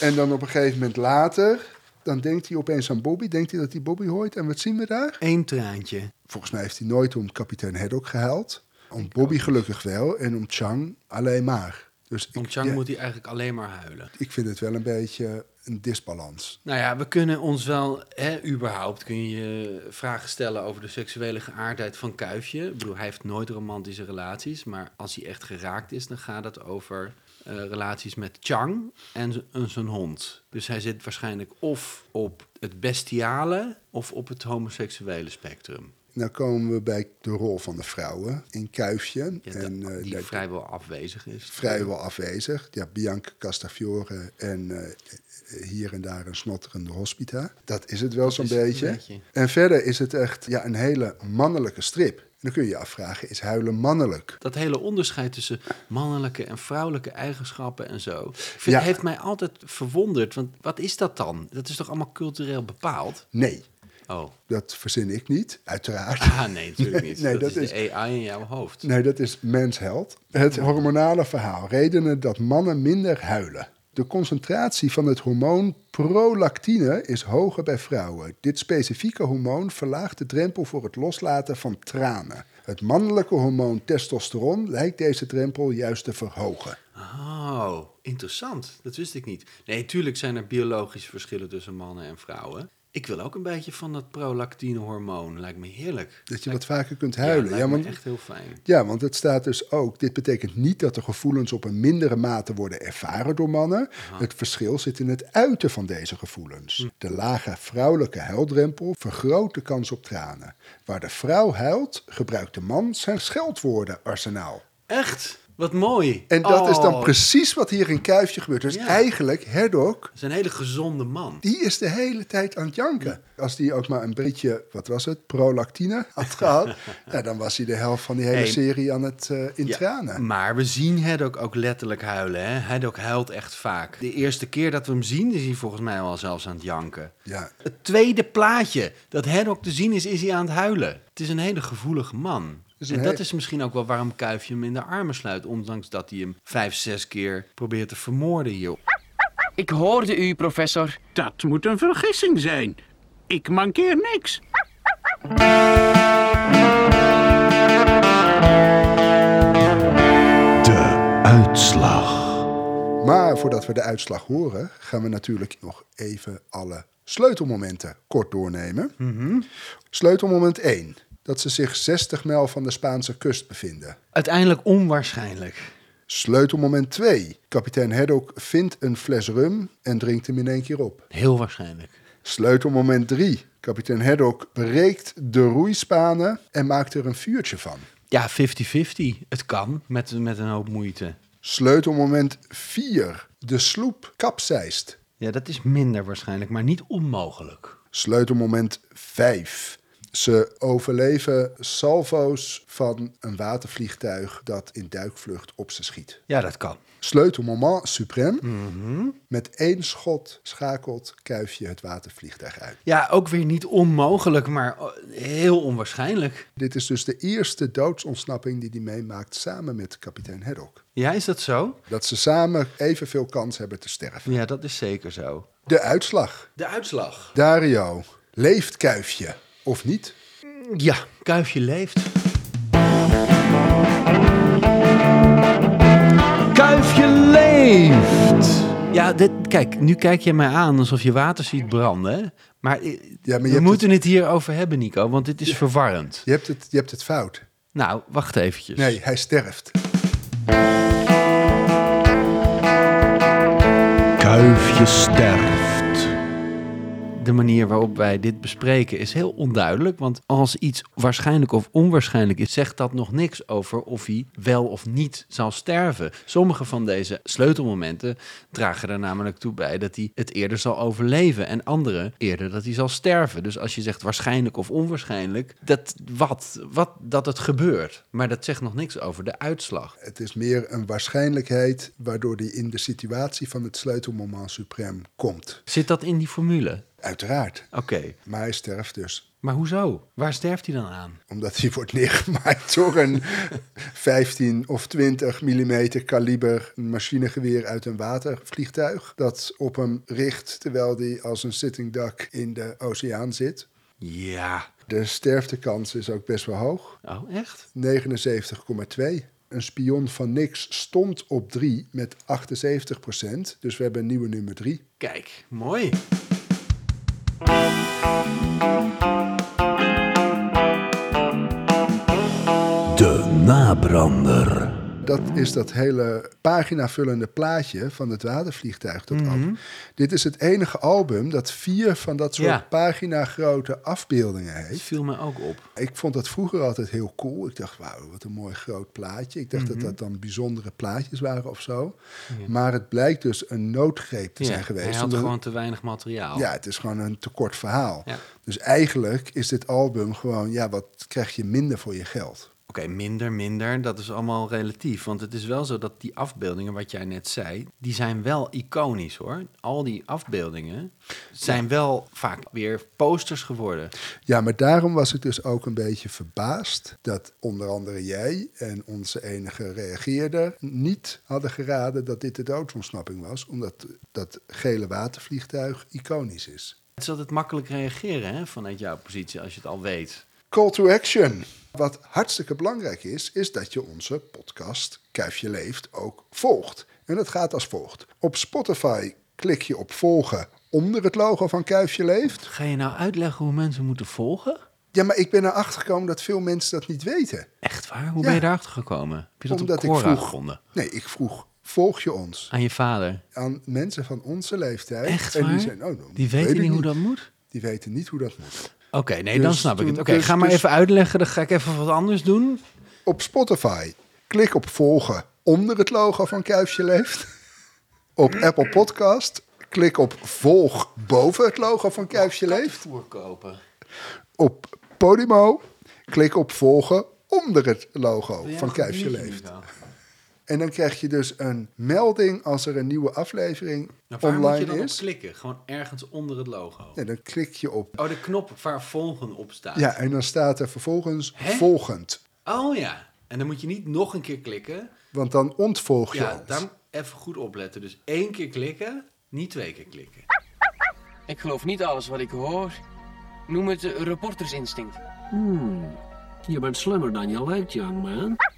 Speaker 2: En dan op een gegeven moment later, dan denkt hij opeens aan Bobby. Denkt hij dat hij Bobby hoort? En wat zien we daar?
Speaker 1: Eén traantje.
Speaker 2: Volgens mij heeft hij nooit om kapitein Haddock gehuild. Om Bobby gelukkig wel en om Chang alleen maar. Dus ik,
Speaker 1: Om Chang
Speaker 2: ja,
Speaker 1: moet hij eigenlijk alleen maar huilen.
Speaker 2: ik vind het wel een beetje een disbalans.
Speaker 1: Nou ja, we kunnen ons wel, hè, überhaupt kun je vragen stellen over de seksuele geaardheid van Kuifje. Ik bedoel, hij heeft nooit romantische relaties, maar als hij echt geraakt is, dan gaat het over eh, relaties met Chang en z- en zijn hond. Dus hij zit waarschijnlijk of op het bestiale of op het homoseksuele spectrum.
Speaker 2: Dan Nou komen we bij de rol van de vrouwen in Kuifje.
Speaker 1: Ja,
Speaker 2: en,
Speaker 1: de-
Speaker 2: eh,
Speaker 1: die
Speaker 2: dat-
Speaker 1: vrijwel afwezig is.
Speaker 2: vrijwel afwezig. Ja, Bianca Castafiore en eh, hier en daar een snotterende hospita. Dat is het wel zo'n
Speaker 1: is het een
Speaker 2: beetje.
Speaker 1: beetje.
Speaker 2: En verder is het echt ja, een hele mannelijke strip. En dan kun je je afvragen, is huilen mannelijk?
Speaker 1: Dat hele onderscheid tussen mannelijke en vrouwelijke eigenschappen en zo. Ik Vind,
Speaker 2: Ja.
Speaker 1: Heeft mij altijd verwonderd. Want wat is dat dan? Dat is toch allemaal cultureel bepaald?
Speaker 2: Nee,
Speaker 1: Oh.
Speaker 2: dat verzin ik niet, uiteraard.
Speaker 1: Ah, nee, natuurlijk niet.
Speaker 2: Nee,
Speaker 1: dat,
Speaker 2: dat
Speaker 1: is, de AI in jouw hoofd.
Speaker 2: Nee, dat is mensheld. Het hormonale verhaal. Redenen dat mannen minder huilen. De concentratie van het hormoon prolactine is hoger bij vrouwen. Dit specifieke hormoon verlaagt de drempel voor het loslaten van tranen. Het mannelijke hormoon testosteron lijkt deze drempel juist te verhogen.
Speaker 1: Oh, interessant. Dat wist ik niet. Nee, tuurlijk zijn er biologische verschillen tussen mannen en vrouwen. Ik wil ook een beetje van dat prolactinehormoon. Lijkt me heerlijk.
Speaker 2: Dat je wat vaker kunt huilen. Ja,
Speaker 1: lijkt me
Speaker 2: want,
Speaker 1: echt heel fijn.
Speaker 2: ja, want het staat dus ook. Dit betekent niet dat de gevoelens op een mindere mate worden ervaren door mannen. Het verschil zit in het uiten van deze gevoelens.
Speaker 1: Hm.
Speaker 2: De lage vrouwelijke huildrempel vergroot de kans op tranen. Waar de vrouw huilt, gebruikt de man zijn scheldwoordenarsenaal.
Speaker 1: Echt? Wat mooi.
Speaker 2: En dat is dan
Speaker 1: Oh,
Speaker 2: precies wat hier in Kuifje gebeurt. Dus
Speaker 1: Ja.
Speaker 2: eigenlijk, Herdok,
Speaker 1: Dat is een hele gezonde man.
Speaker 2: die is de hele tijd aan het janken. Als die ook maar een beetje, wat was het, prolactine had gehad... ja, dan was hij de helft van die hele
Speaker 1: Hey.
Speaker 2: serie aan het eh in
Speaker 1: Ja, Hm.
Speaker 2: tranen.
Speaker 1: Maar we zien Haddock ook letterlijk huilen. Hè? Haddock huilt echt vaak. De eerste keer dat we hem zien, is hij volgens mij al zelfs aan het janken.
Speaker 2: Ja.
Speaker 1: Het tweede plaatje dat Haddock te zien is, is hij aan het huilen. Het is een hele gevoelige man.
Speaker 2: is een
Speaker 1: En dat
Speaker 2: he-
Speaker 1: is misschien ook wel waarom Kuifje hem in de armen sluit. Ondanks dat hij hem vijf, zes keer probeert te vermoorden hier.
Speaker 3: Ik hoorde u, professor.
Speaker 8: Dat moet een vergissing zijn. Ik mankeer niks.
Speaker 7: De uitslag.
Speaker 2: Maar voordat we de uitslag horen, gaan we natuurlijk nog even alle sleutelmomenten kort doornemen. Sleutelmoment 1. Dat ze zich 60 mijl van de Spaanse kust bevinden.
Speaker 1: Uiteindelijk onwaarschijnlijk.
Speaker 2: Sleutelmoment 2. Kapitein Haddock vindt een fles rum en drinkt hem in één keer op.
Speaker 1: Heel waarschijnlijk.
Speaker 2: Sleutelmoment 3. Kapitein Haddock breekt de roeispanen en maakt er een vuurtje van.
Speaker 1: Ja, 50-50. Het kan, met, met een hoop moeite.
Speaker 2: Sleutelmoment 4. De sloep kapseist.
Speaker 1: Ja, dat is minder waarschijnlijk, maar niet onmogelijk.
Speaker 2: Sleutelmoment 5. Ze overleven salvo's van een watervliegtuig dat in duikvlucht op ze schiet.
Speaker 1: Ja, dat kan.
Speaker 2: Sleutelmoment suprême. Met één schot schakelt Kuifje het watervliegtuig uit.
Speaker 1: Ja, ook weer niet onmogelijk, maar oh, heel onwaarschijnlijk.
Speaker 2: Dit is dus de eerste doodsontsnapping die hij meemaakt samen met kapitein Haddock.
Speaker 1: Ja, is dat zo?
Speaker 2: Dat ze samen evenveel kans hebben te sterven.
Speaker 1: Ja, dat is zeker zo.
Speaker 2: De uitslag.
Speaker 1: De uitslag.
Speaker 2: Dario, leeft Kuifje of niet?
Speaker 1: Ja, Kuifje leeft.
Speaker 7: Kuifje leeft.
Speaker 1: Ja, dit, kijk, nu kijk je mij aan alsof je water ziet branden. hè? Maar, eh,
Speaker 2: je
Speaker 1: we
Speaker 2: hebt
Speaker 1: moeten het... hierover hebben, Nico, want dit is verwarrend.
Speaker 2: Je hebt het, je hebt het fout.
Speaker 1: Nou, wacht eventjes.
Speaker 2: Nee, hij sterft.
Speaker 7: Kuifje sterft.
Speaker 1: De manier waarop wij dit bespreken is heel onduidelijk. Want als iets waarschijnlijk of onwaarschijnlijk is, zegt dat nog niks over of hij wel of niet zal sterven. Sommige van deze sleutelmomenten dragen er namelijk toe bij dat hij het eerder zal overleven. En andere eerder dat hij zal sterven. Dus als je zegt waarschijnlijk of onwaarschijnlijk, dat wat, wat dat het gebeurt. Maar dat zegt nog niks over de uitslag.
Speaker 2: Het is meer een waarschijnlijkheid waardoor hij in de situatie van het sleutelmoment suprême komt.
Speaker 1: Zit dat in die formule?
Speaker 2: Uiteraard.
Speaker 1: Oké,
Speaker 2: Maar hij sterft dus.
Speaker 1: maar hoezo? Waar sterft hij dan aan?
Speaker 2: Omdat hij wordt neergemaakt door een 15 of 20 millimeter kaliber machinegeweer uit een watervliegtuig. Dat op hem richt terwijl hij als een sitting duck in de oceaan zit.
Speaker 1: Ja.
Speaker 2: De sterftekans is ook best wel hoog.
Speaker 1: Oh, echt?
Speaker 2: 79,2. Een spion van niks stond op 3 met 78 Dus we hebben een nieuwe nummer 3.
Speaker 1: Kijk, mooi.
Speaker 7: De nabrander.
Speaker 2: Dat is dat hele paginavullende plaatje van het watervliegtuig. Dat
Speaker 1: Mhm.
Speaker 2: album. Dit is het enige album dat vier van dat soort
Speaker 1: Ja.
Speaker 2: paginagrote afbeeldingen
Speaker 1: Het
Speaker 2: heeft.
Speaker 1: viel mij ook op.
Speaker 2: Ik vond dat vroeger altijd heel cool. Ik dacht, wauw, wat een mooi groot plaatje. Ik dacht
Speaker 1: Mhm.
Speaker 2: dat dat dan bijzondere plaatjes waren of zo. Maar het blijkt dus een noodgreep te
Speaker 1: Ja,
Speaker 2: zijn geweest.
Speaker 1: Hij had
Speaker 2: Omdat-
Speaker 1: gewoon te weinig materiaal.
Speaker 2: Ja, het is gewoon een tekort verhaal.
Speaker 1: Oh. Ja.
Speaker 2: Dus eigenlijk is dit album gewoon, ja, wat krijg je minder voor je geld?
Speaker 1: Oké, minder, minder, dat is allemaal relatief. Want het is wel zo dat die afbeeldingen, wat jij net zei, die zijn wel iconisch hoor. Al die afbeeldingen zijn wel vaak weer posters geworden.
Speaker 2: Ja, maar daarom was ik dus ook een beetje verbaasd dat onder andere jij en onze enige reageerder niet hadden geraden dat dit de doodsontsnapping was, omdat dat gele watervliegtuig iconisch is.
Speaker 1: Het is altijd makkelijk reageren hè, vanuit jouw positie als je het al weet.
Speaker 2: Call to action. Wat hartstikke belangrijk is, is dat je onze podcast Kuifje Leeft ook volgt. En dat gaat als volgt. Op Spotify klik je op volgen onder het logo van Kuifje leeft.
Speaker 1: Ga je nou uitleggen hoe mensen moeten volgen?
Speaker 2: Ja, maar ik ben erachter gekomen dat veel mensen dat niet weten.
Speaker 1: Echt waar? Hoe
Speaker 2: Ja.
Speaker 1: ben je daarachter gekomen? Heb je dat
Speaker 2: Omdat
Speaker 1: op
Speaker 2: ik
Speaker 1: Quora
Speaker 2: vroeg-
Speaker 1: gevonden?
Speaker 2: Nee, ik vroeg, volg je ons?
Speaker 1: Aan je vader?
Speaker 2: Aan mensen van onze leeftijd.
Speaker 1: Echt
Speaker 2: en
Speaker 1: waar?
Speaker 2: die zijn, oh, dan
Speaker 1: die
Speaker 2: weet ik
Speaker 1: weten niet hoe dat moet?
Speaker 2: Die weten niet hoe dat moet.
Speaker 1: Oké, nee,
Speaker 2: Dus
Speaker 1: dan snap ik het.
Speaker 2: toen-
Speaker 1: Oké,
Speaker 2: dus-
Speaker 1: ga maar
Speaker 2: dus-
Speaker 1: even uitleggen. Dan ga ik even wat anders doen.
Speaker 2: Op Spotify, klik op volgen onder het logo van Kuifje leeft. Op Apple Podcast, klik op volg boven het logo van Kuifje leeft.
Speaker 1: Voer kopen.
Speaker 2: Op Podimo, klik op volgen onder het logo van Kuifje leeft.
Speaker 1: Nou,
Speaker 2: En dan krijg je dus een melding als er een nieuwe aflevering
Speaker 1: waar moet je
Speaker 2: online
Speaker 1: dan op
Speaker 2: is.
Speaker 1: klikken? Gewoon ergens onder het logo.
Speaker 2: Ja, dan klik je op.
Speaker 1: Oh, de knop waar volgen op staat.
Speaker 2: Ja, en dan staat er vervolgens
Speaker 1: Hè?
Speaker 2: volgend.
Speaker 1: Oh ja. En dan moet je niet nog een keer klikken.
Speaker 2: Want dan ontvolg je
Speaker 1: Ja,
Speaker 2: ons.
Speaker 1: daar even goed opletten. Dus één keer klikken, niet twee keer klikken.
Speaker 3: Ik geloof niet alles wat ik hoor. Noem het eh, reportersinstinct.
Speaker 9: Je bent slimmer dan je lijkt, young man.